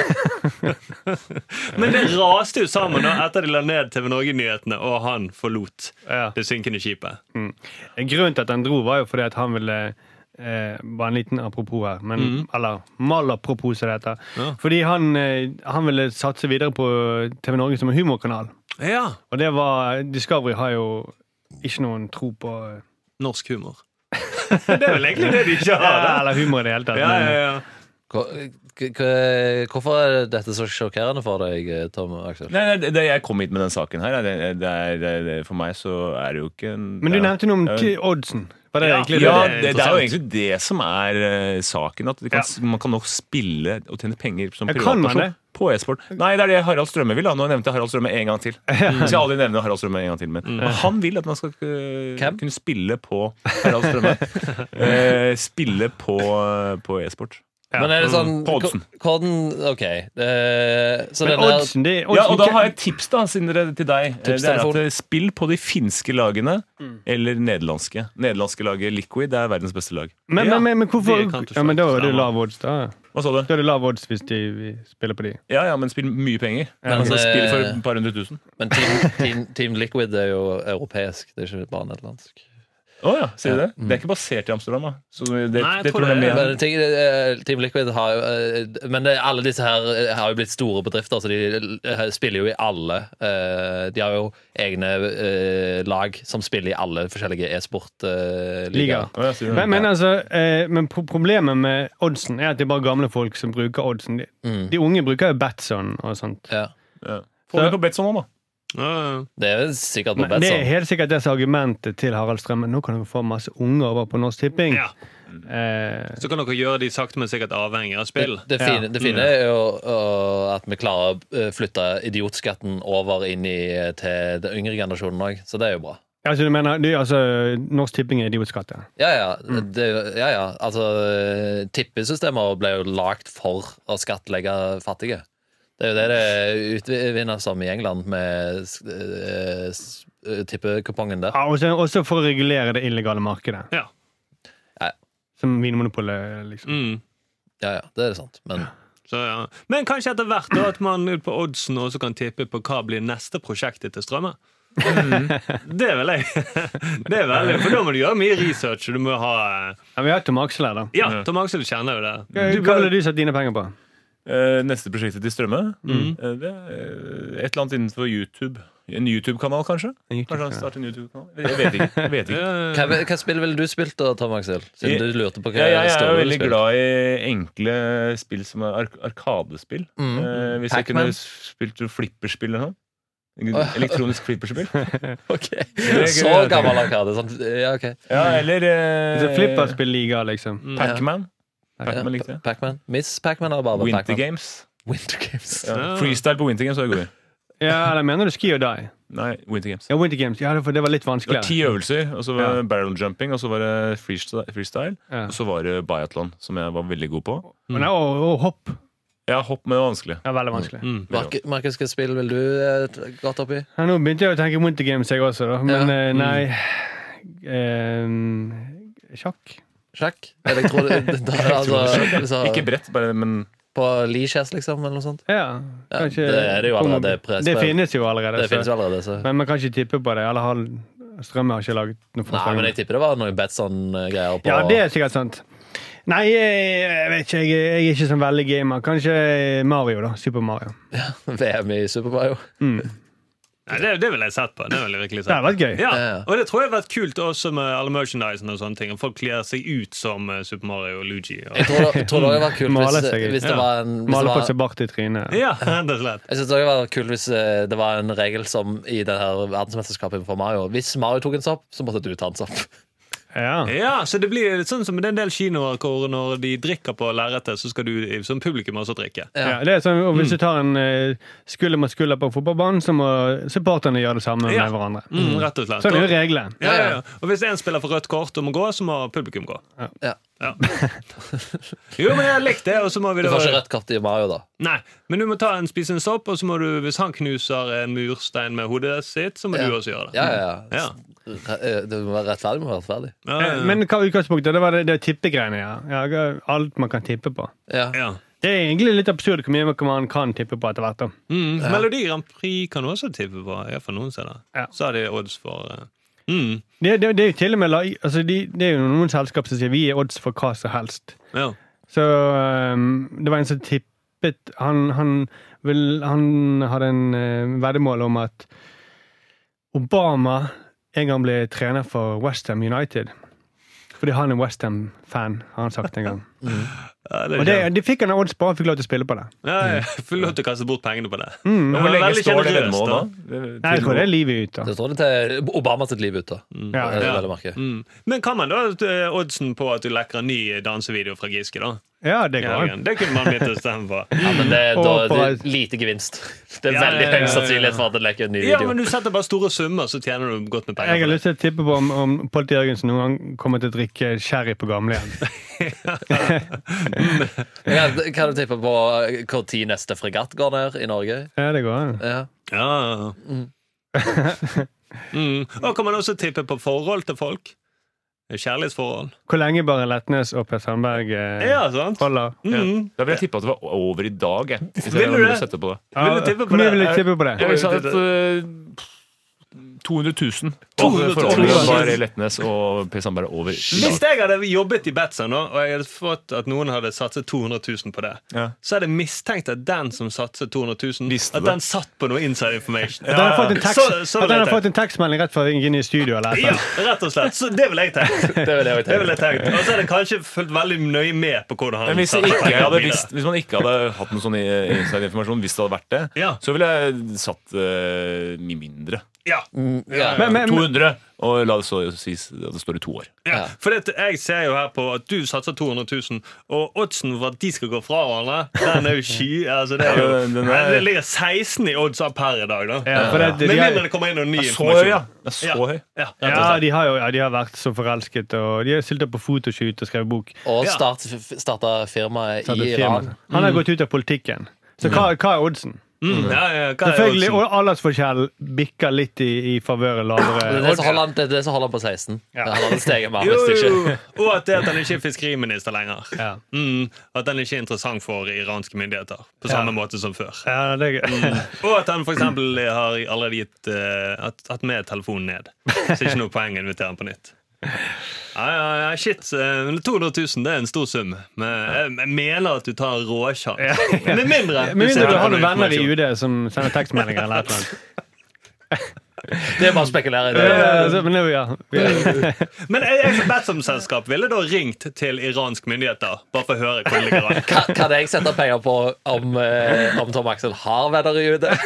F: Men det raste jo sammen da etter de la ned TV Norge-nyhetene, og han forlot
E: Ja.
F: det synkende skipet.
E: Grunnen til at han dro, var jo fordi at han ville eh, Bare en liten apropos her, men, eller malapropos, som det heter.
F: Ja.
E: Fordi han, eh, han ville satse videre på TV Norge som en humorkanal.
F: Ja,
E: Og det var Discovery har jo ikke noen tro på
F: norsk humor. det er vel egentlig det de ikke har.
E: ja,
F: da.
E: Eller humor i det hele tatt.
F: Ja,
E: men-
F: ja, ja.
C: Hva- k- k- Hvorfor er dette så sjokkerende for deg, eh, Tom Aksel?
A: Nei, nei, det, det, jeg kom hit med den saken her. Det, det er, det, det, for meg så er det jo ikke en
E: Men du
A: ja.
E: nevnte noe om
A: Ja.
E: ti- oddsen. Var det
F: Ja.
E: egentlig det?
A: Ja,
F: er
A: det, det er jo
F: interessant.
A: egentlig det som er eh, saken. At det kan, Man kan nok spille og tjene penger som
E: Ja, kan man
A: privatperson
E: det?
A: på e-sport. Nei, det er det Harald Strømme vil. da. Nå nevnte jeg Harald Strømme en gang til. Jeg skal aldri nevne Harald Strømme en gang til, men men han vil at man skal eh,
C: Hvem?
A: kunne spille på Harald Strømme. Eh, spille på, eh, på e-sport.
C: Men er det sånn
A: mm, På oddsen.
C: hva- Hvordan Ok. eh, Så
E: Men
C: den der
E: oddsen, det, oddsen
A: Ja, og da har jeg et tips da, siden dere, til deg. Eh,
C: Tips,
A: det er at
C: telefon.
A: eh, Spill på de finske lagene eller nederlandske. Nederlandske laget Liquid er verdens beste lag.
E: men, men, men, men hvorfor
F: det kan du
E: ja, men Da er det
F: stemmer.
E: lav odds, da.
A: Hva sa du?
E: Da er det lav odds hvis de vi spiller på de.
A: Ja, ja, men spill mye penger.
C: Men,
A: altså, spill for
C: eh,
A: et par hundre tusen.
C: Men Team, team, team Liquid er jo europeisk, det er ikke bare nederlandsk.
A: Å ja, sier du det? Det er ikke basert i Amsterdam, da. Så det, det,
F: Nei, jeg tror
A: tror jeg
F: det er-
A: mer
C: Men ting, eh, Team Liquid har jo eh, Men det- alle disse her eh, har jo blitt store bedrifter, så de eh, spiller jo i alle. eh, De har jo egne eh, lag som spiller i alle forskjellige eh,
E: Ligaer.
C: e-sport-ligaer.
A: Å, ja, sier du det?
E: Men, men, altså, eh, men pro- problemet med oddsen er at det er bare gamle folk som bruker oddsen. De,
C: Mm.
E: de unge bruker jo Batson og sånt.
C: Ja.
A: Ja. Få det på Betson nå, da.
F: Ja, ja.
C: Det er jo sikkert på
E: Men det er
C: Betson.
E: helt sikkert det som er argumentet til Harald Strømmen. Nå kan dere få masse unge over på Norsk Tipping.
F: Ja.
E: Eh,
F: Så kan dere gjøre de sakte, men sikkert avhengig av
C: Det,
F: spill.
C: det fine, det fine er jo øh, at vi klarer å øh, flytte idiotskatten over inn i, til den yngre generasjonen òg, så det er jo bra.
E: altså, du mener, de, altså, Norsk Tipping er idiotskatt, ja.
C: Ja ja.
A: Mm.
C: Det, ja, ja. Altså, øh, tippesystemer ble jo lagd for å skattlegge fattige. Det er jo det det utvinnes som i England med s- øh, s- øh, tippekupongen der.
E: Ja, også, også for å regulere det illegale markedet.
F: Ja.
C: Ja.
E: Som Vinmonopolet, liksom.
F: Mm.
C: Ja ja, det er sant. Men
F: Så, ja. Men kanskje etter hvert da, at man ut på oddsen også kan tippe på hva blir neste prosjektet til Strømme. Det vil jeg. Det er veldig, For da må du gjøre mye research. og Du må ha
E: Ja, vi har Tom Aksel her, da.
F: Ja, Tom Aksel kjenner jo det.
E: Hva
F: Du
E: hva ville
F: kan,
E: du satt dine penger på?
A: Eh, neste prosjektet til Strømme, eh, det er eh, et eller annet innenfor YouTube. En YouTube-kanal, kanskje? Kanskje han starter en YouTube-kanal? Jeg vet ikke. Jeg vet ikke.
F: Ja,
C: hva, hva spill ville du spilt da, Tom Aksel? Siden du lurte på hva
A: Ja, jeg er
C: store
A: jo
C: du
A: veldig
C: spilte.
A: glad i enkle spill som er ark arkadespill. Eh, hvis jeg
C: Pac-Man?
A: kunne spilt noe flipperspill eller noe. Elektronisk flipperspill.
C: Ok,
A: er
C: Så
A: gøy, jeg
C: gammel arkade. Sånn, ja, ok.
A: Ja, eller
E: Altså,
A: eh,
E: Flipperspill-liga, liksom.
A: Pacman.
C: Ja,
A: Pacman likte jeg.
C: Pac-Man. Miss Pac-Man eller bare
A: Winter
C: Pac-Man?
A: Games.
C: Winter Games.
A: Ja.
F: Ja.
A: Freestyle på Winter Games var jeg god i.
E: Ja, eller mener du Ski or Die?
A: Nei, Winter Games.
E: Ja, Winter Games. Ja, det- for det var litt
A: Det var ti
E: vanskeligere.
A: øvelser, og så var
E: Ja.
A: det barrel jumping, og så var det freestyle, freestyle
E: Ja.
A: og så var det biathlon, som jeg var veldig god på.
E: Og, nei, og, og hopp.
A: Ja, hopp med vanskelig.
E: Ja, veldig vanskelig.
C: Mark- Markus, hvilket spill vil du eh, t- godt oppi?
E: Ja, nå begynte jeg å tenke Winter Games, jeg også, da. Men
C: Ja. Mm.
E: eh, nei eh, Sjakk.
C: Sjakk? Eller jeg tror det, det, det, altså, altså,
A: Ikke bredt, bare, men
C: På Lichess, liksom, eller noe sånt?
E: Ja,
C: Ja,
E: kanskje-
C: det er det jo allerede press-
E: Det finnes jo allerede.
C: Det finnes
E: så.
C: jo allerede, så
E: Men man kan ikke tippe på det. Eller har, Strømme har ikke laget
C: Nei,
E: noe forslag. om
C: men jeg
E: det.
C: tipper det var noen Batson-greier på
E: Ja, det er sikkert sant. Nei, jeg, jeg vet ikke. Jeg, jeg er ikke sånn veldig gamer. Kanskje Mario, da. Super Mario.
C: VM i Super Mario.
F: Nei, det, det ville jeg sett på. Det ville jeg virkelig
E: Det
F: sett
E: hadde
F: på.
E: vært gøy.
F: Ja,
C: Ja, ja.
F: og det tror jeg har vært kult også med alle merchandisen og sånne ting. og Folk kler seg ut som eh, Super Mario og Luigi. Og...
C: Jeg tror, det- tror det hadde vært kult
E: Male
C: hvis,
E: seg ut.
C: hvis det
F: Ja.
C: var en hvis det
E: Male
C: var,
E: på seg bart i trynet.
F: Ja, rett og slett.
C: Jeg synes det hadde vært kult hvis eh, det var en regel som i det her verdensmesterskapet for Mario. Hvis Mario tok en sopp, så måtte du ta en sopp.
E: Ja.
F: Ja, så det blir litt sånn som det er en del kinoer hvor når de drikker på lerretet, så skal du som publikum også drikke.
E: Ja, det er sånn, og Hvis du tar en eh, skulder mot skulder på fotballbanen, så må supporterne gjøre det samme
F: Ja.
E: med hverandre.
F: Mm, rett og slett.
E: Sånn er jo
F: Og,
E: reglene.
F: ja, ja, ja. og hvis en spiller for rødt kort og må gå, så må publikum gå.
C: Ja.
F: Ja. Jo, men jeg har likt det, og så må vi
C: Du
F: da
C: får ikke rødt kort i Mario, da.
F: Nei, men du må ta en spise en sopp, og så må du, hvis han knuser en murstein med hodet sitt, så må
C: Ja.
F: du også gjøre det.
C: Ja, ja, ja.
F: Ja.
C: Re- eh, Du må være rettferdig med å være rettferdig.
F: Ja, ja,
E: Eh,
F: ja.
E: Men hva er utgangspunktet? Det var det, det tippegreiene, ja. ja. Alt man kan tippe på.
C: Ja.
F: ja.
E: Det er egentlig litt absurd hvor mye man kan tippe på etter hvert. da.
F: Mm, Melodi Grand Prix kan du også tippe på, iallfall noen steder.
E: Ja.
F: Så har de odds for eh, mm,
E: Det, det, det er jo til og med la- altså de, det er jo noen selskap som sier vi er odds for hva som helst.
F: ja.
E: Så ehm, det var en som tippet Han, han, vil, han hadde en eh, veddemål om at Obama en gang ble trener for Westham United. Fordi han er Westham-fan, har han sagt en gang.
F: Ja,
E: Og
F: det, er
E: det,
F: gøy.
E: det fikk han odds på, han fikk lov til å spille på det.
F: ja, jeg får lov til å kaste bort pengene på det.
E: Mm.
F: Ja,
A: Hvor
F: men
A: lenge
F: veldig
A: står det
F: generøst,
A: veddemålet
F: da.
A: da?
E: Nei, jeg tror det er livet ut, da.
C: Det står det til Obama sitt liv ut, da.
E: Ja,
C: Det er
F: ja.
C: veldig merkelig.
F: Mm. Men kan man da eh, oddsen på at du lekker en ny eh, dansevideo fra Giske, da?
E: ja det
F: I
E: går an.
F: helgen? Det kunne man begynt å stemme på.
C: Ja, men det, er- da,
E: Og
C: det
E: på-
C: er lite gevinst. Det er
F: Ja,
C: veldig
F: ja, ja,
C: høy
F: ja, ja.
C: sannsynlighet for at det lekker en ny
F: Ja,
C: video.
F: men du setter bare store summer, så tjener du godt med
E: Jeg har
F: penger.
E: lyst til å tippe på om, om Pål Jørgensen noen gang kommer til å drikke sherry på gamlehjem.
C: Ja, kan du tippe på hvor tid neste fregatt går ned i Norge?
E: Ja, det går an.
C: Ja.
F: Ja. Mm. Og kan man også tippe på forhold til folk? Kjærlighetsforhold.
E: Hvor lenge bare Letnes og Per Sandberg eh,
F: Ja, sant?
E: holder?
F: Mm.
A: Da ville jeg tippa at det var over i dag. Jeg, hvis jeg
F: Vil du
A: hadde
F: det?
A: sett det på det.
E: Ja,
F: Vil du tippe på
E: hvor mye
F: det?
E: vil du tippe på det?
A: Jeg ville sagt uh, 200 000.
F: 200 000.
A: For overgang var Letnes og Per Sandberg over i dag.
F: Hvis jeg hadde jobbet i Betson, nå, og jeg hadde fått at noen hadde satset 200 000 på det,
A: Ja.
F: så hadde jeg mistenkt at den som satset 200 000,
A: Visste
F: at
A: det.
F: den satt på noe inside information.
E: At han har fått en tekst-
F: Så- så
E: at han
F: ville
E: har fått
F: jeg tenkt.
E: en tekstmelding rett før han gikk inn i studio? Eller et
F: Ja,
E: eller annet.
F: rett og slett. Så det ville jeg
C: Det
F: tenkt.
C: vil jeg også
F: Det
C: tenke.
F: ville jeg tenkt. Og så hadde jeg kanskje fulgt veldig nøye med på hvordan
A: Men
F: han
A: hvis, jeg
F: satte
A: ikke
F: pengene
A: hadde
F: videre.
A: visst, hvis man ikke hadde hatt noen sånn i- inside-informasjon, hvis det hadde vært det,
F: Ja.
A: så ville jeg satt eh, mye mindre.
F: Ja.
C: Ja.
E: Men- men-
A: 200, og la det så sies at det står i to år.
F: Ja, for det, jeg ser jo her på at du satser 200 000, og oddsen for at de skal gå fra hverandre, den er jo sky. Altså, det, er jo,
A: Ja, den- den er-
F: det ligger 16 i odds av per i dag, da.
E: Ja, for det-
F: Med
E: de har-
F: mindre det kommer inn noe ny
A: Så høy,
F: informasjon.
A: ja! Det er så høy.
F: Ja, rett og
E: Ja,
F: slett.
E: de har jo ja, de har vært så forelsket, og de har stilt opp på fotoshoot og skrevet bok.
C: Og
F: Ja.
C: start, starta firmaet
E: Så
C: i
E: det er
C: Iran.
E: firmaet. Han har gått ut av politikken. Så hva, hva er oddsen?
F: Mm, ja, ja, hva er
E: Selvfølgelig, og
F: oddsen?
E: Aldersforskjellen bikker litt i, i favøret
C: Det
E: lavere.
C: er det som holder han, det er det som holder han på 16.
E: Ja.
C: Han hadde steget mer
F: Jo,
C: hvis det ikke
F: jo. Og at det at han ikke er fiskeriminister lenger.
E: Ja.
F: Mm, at den ikke er interessant for iranske myndigheter på samme måte som før.
E: Ja, det er gøy.
F: Og at han for eksempel har allerede gitt eh, at, at med telefonen ned. Så ikke noe poeng å invitere han på nytt. Ja, ja, ja, shit. eh, 200 000 det er en stor sum. Men jeg, jeg mener at du tar en råsjanse. Med mindre
E: Med
F: ser
E: mindre du
F: på
E: har noen
F: noe
E: venner i
F: informasjon.
E: UD som sender tekstmeldinger eller et eller annet.
C: Det er bare å spekulere i det.
E: Ja, ja, Eh, så- Men det er jo, ja. Vi-
F: Men jeg, jeg som Betsom-selskap ville da ringt til iranske myndigheter bare for å høre hvor det ligger an.
C: Ka- Kan jeg sette penger på om, eh, om Tom Axel har venner i UD og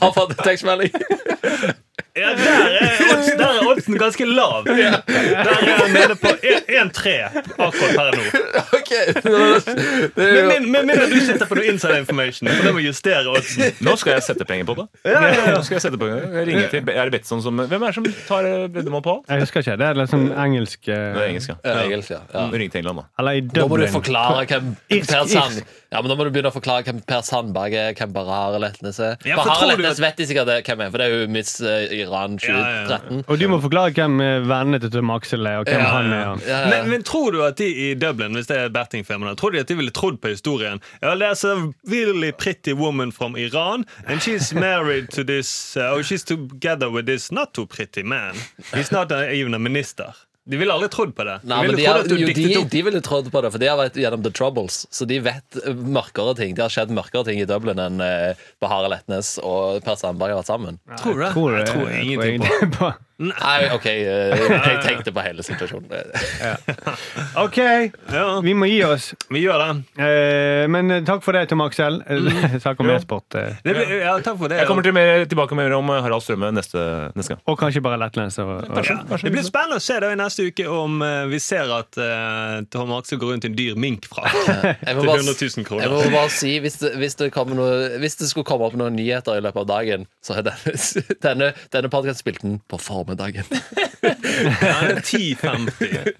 C: har fått en tekstmelding?
F: Ja, der er odds- der er oddsen ganske lav. Der er han nede på 1-3 akkurat per nå.
C: Ok, det er
F: Men
C: jo
F: min- Med mindre du sitter på noe inside information, for det må justere oddsen.
A: Nå skal jeg sette penger på det. Nå skal jeg sette penger på det. Jeg ringer til Er det Betsson som Hvem er det som tar eh, veddemål på alt?
E: Jeg husker ikke. Det er litt sånn engelsk
A: Det er
E: eh,
A: engelsk, ja.
F: Mm.
C: Ja, engelsk, ja. ja.
A: Ring til England, da.
E: Eller i
C: Da må du
E: Dublin.
C: forklare hvem
E: Irsk,
C: Per Sand
E: irsk.
C: Ja, men Da må du begynne å forklare hvem Per Sandberg er, hvem Bahar Letnes er.
F: Ja, for
C: Bahar
F: tror du
C: Letnes
F: at-
C: vet de sikkert det- hvem er, for det er jo Miss eh, Iran
F: ja, ja.
C: 2013.
E: Og du må forklare hvem eh, vennene til Tom Aksel er, og hvem
C: Ja,
E: han er.
C: Ja, ja.
F: Men, men tror du at de i Dublin hvis det er bettingfirmaene, tror de at de ville trodd på historien? Ja, there's a really pretty woman from Iran, and she's married to this uh, or She's together with this not too pretty man. He's not a, even a minister. De ville aldri trodd på det. De
C: Nei, men
F: ville
C: de,
F: trodd
C: har,
F: at du
C: jo, de,
F: diktet opp
C: de ville trodd på det, for de har vært gjennom The Troubles. Så de vet eh, mørkere ting. Det har skjedd mørkere ting i Dublin enn eh, Bahar Letnes og Per Sandberg har vært sammen.
F: Tror du det? Jeg tror ingenting på det.
E: eh, egentlig på.
C: Nei, OK, eh, jeg tenkte på hele situasjonen.
E: OK,
F: Ja,
E: vi må gi oss.
F: vi gjør det.
E: Eh, men eh, takk for det, Tom Aksel.
F: Mm.
E: Eh, Snakk om e-sport. eh.
F: det blir, ja, takk for det.
A: Jeg kommer til mer, tilbake med mer om eh, Harald Strømme neste, neste gang.
E: Og kanskje bare lettlens. og- og-
F: Ja. Det blir spennende å se da i neste uke om eh, vi ser at eh, Tom Aksel går rundt i en dyr minkfrakk.
C: Jeg må
F: Til
C: bare-
F: 100 000 kroner.
C: Jeg må bare si, hvis det, hvis, det kommer noe, hvis det skulle komme opp noen nyheter i løpet av dagen, så er denne, denne, denne podcasten spilt den på formiddagen.
F: Ja, det er 10.50.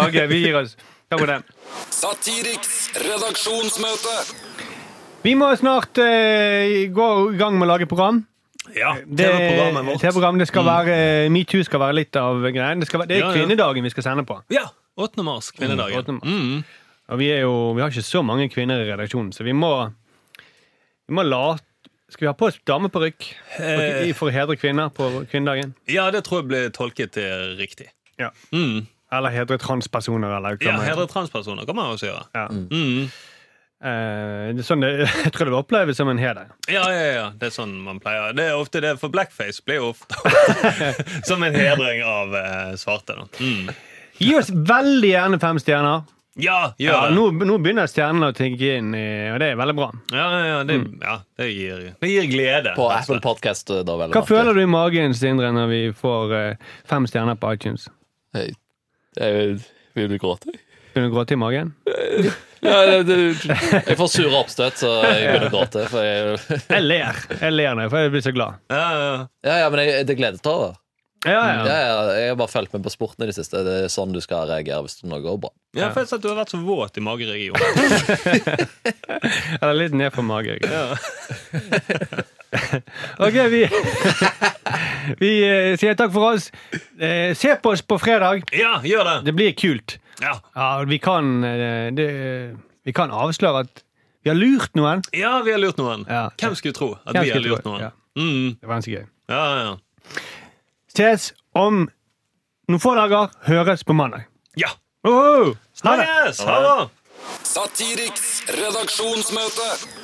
E: OK, vi gir oss. Takk for det.
D: Satiriks redaksjonsmøte.
E: Vi må snart eh, gå i gang med å lage program.
F: Ja,
E: Det,
F: TV-programmet vårt. Mm.
E: TV-program, det skal være, eh, Metoo skal være litt av greien. Det, skal være, det er
F: Ja, ja.
E: kvinnedagen vi skal sende på.
F: Ja, 8. mars, kvinnedagen.
E: 8. mars.
F: Mm.
E: Og vi, er jo, vi har ikke så mange kvinner i redaksjonen, så vi må, vi må la Skal vi ha på oss dameparykk for, for å hedre kvinner på kvinnedagen?
F: Ja, det tror jeg ble tolket eh, riktig.
E: Ja.
F: Mm.
E: Eller hedre transpersoner, eller hva
F: Ja,
E: man-
F: Hedre transpersoner kan man også gjøre.
E: Ja.
F: Mm.
E: Eh, det er sånn det, jeg tror det var opplevd som en heder.
F: Ja, ja, ja, det er sånn man pleier. Det er ofte det, for blackface blir jo ofte som en hedring av eh, svarte. Da. Mm.
E: Gi oss veldig gjerne fem stjerner.
F: Ja,
E: Ja,
F: gjør det.
E: nå, nå begynner stjernene å tenke inn, i- og det er veldig bra.
F: Ja, ja, ja, det,
E: Mm.
F: ja, det, gir, det gir glede.
C: På Apple Podcast. eh, Da, vel,
E: Hva føler du i magen, Sindre, når vi får eh, fem stjerner på iTunes?
C: Jeg, jeg, vil du gråte?
E: Begynner du å gråte i magen?
C: Ja, det- det- jeg får sure oppstøt, så jeg begynner å gråte. For jeg,
E: Jeg ler. Jeg ler nå, for jeg blir så glad.
F: Ja, ja, ja.
C: ja, ja, men jeg, det gleder til over.
E: Ja,
C: Ja,
E: ja.
C: ja, jeg har bare fulgt med på sporten i det siste. Det er sånn du skal reagere hvis noe går bra.
F: Ja, for jeg sa at du har vært så våt i mageregionen.
E: Eller litt ned på magen. ok, vi, vi eh, sier takk for oss. Eh, se på oss på fredag.
F: Ja, gjør det!
E: Det blir kult.
F: Ja,
E: Ja, vi kan, eh, det, vi kan avsløre at vi har lurt noen.
F: ja vi har lurt noen.
E: Ja.
F: Hvem skulle tro at
E: Hvem
F: vi har
E: skulle
F: lurt
E: tro?
F: noen?
E: Ja.
F: Mm.
E: Det var ganske gøy.
F: Ja, ja,
E: Ses om noen få dager. Høres på mandag.
F: ja. ja.
E: Oh, ha det!
F: Eh, Snakkes! Ha det!
D: Satiriks redaksjonsmøte.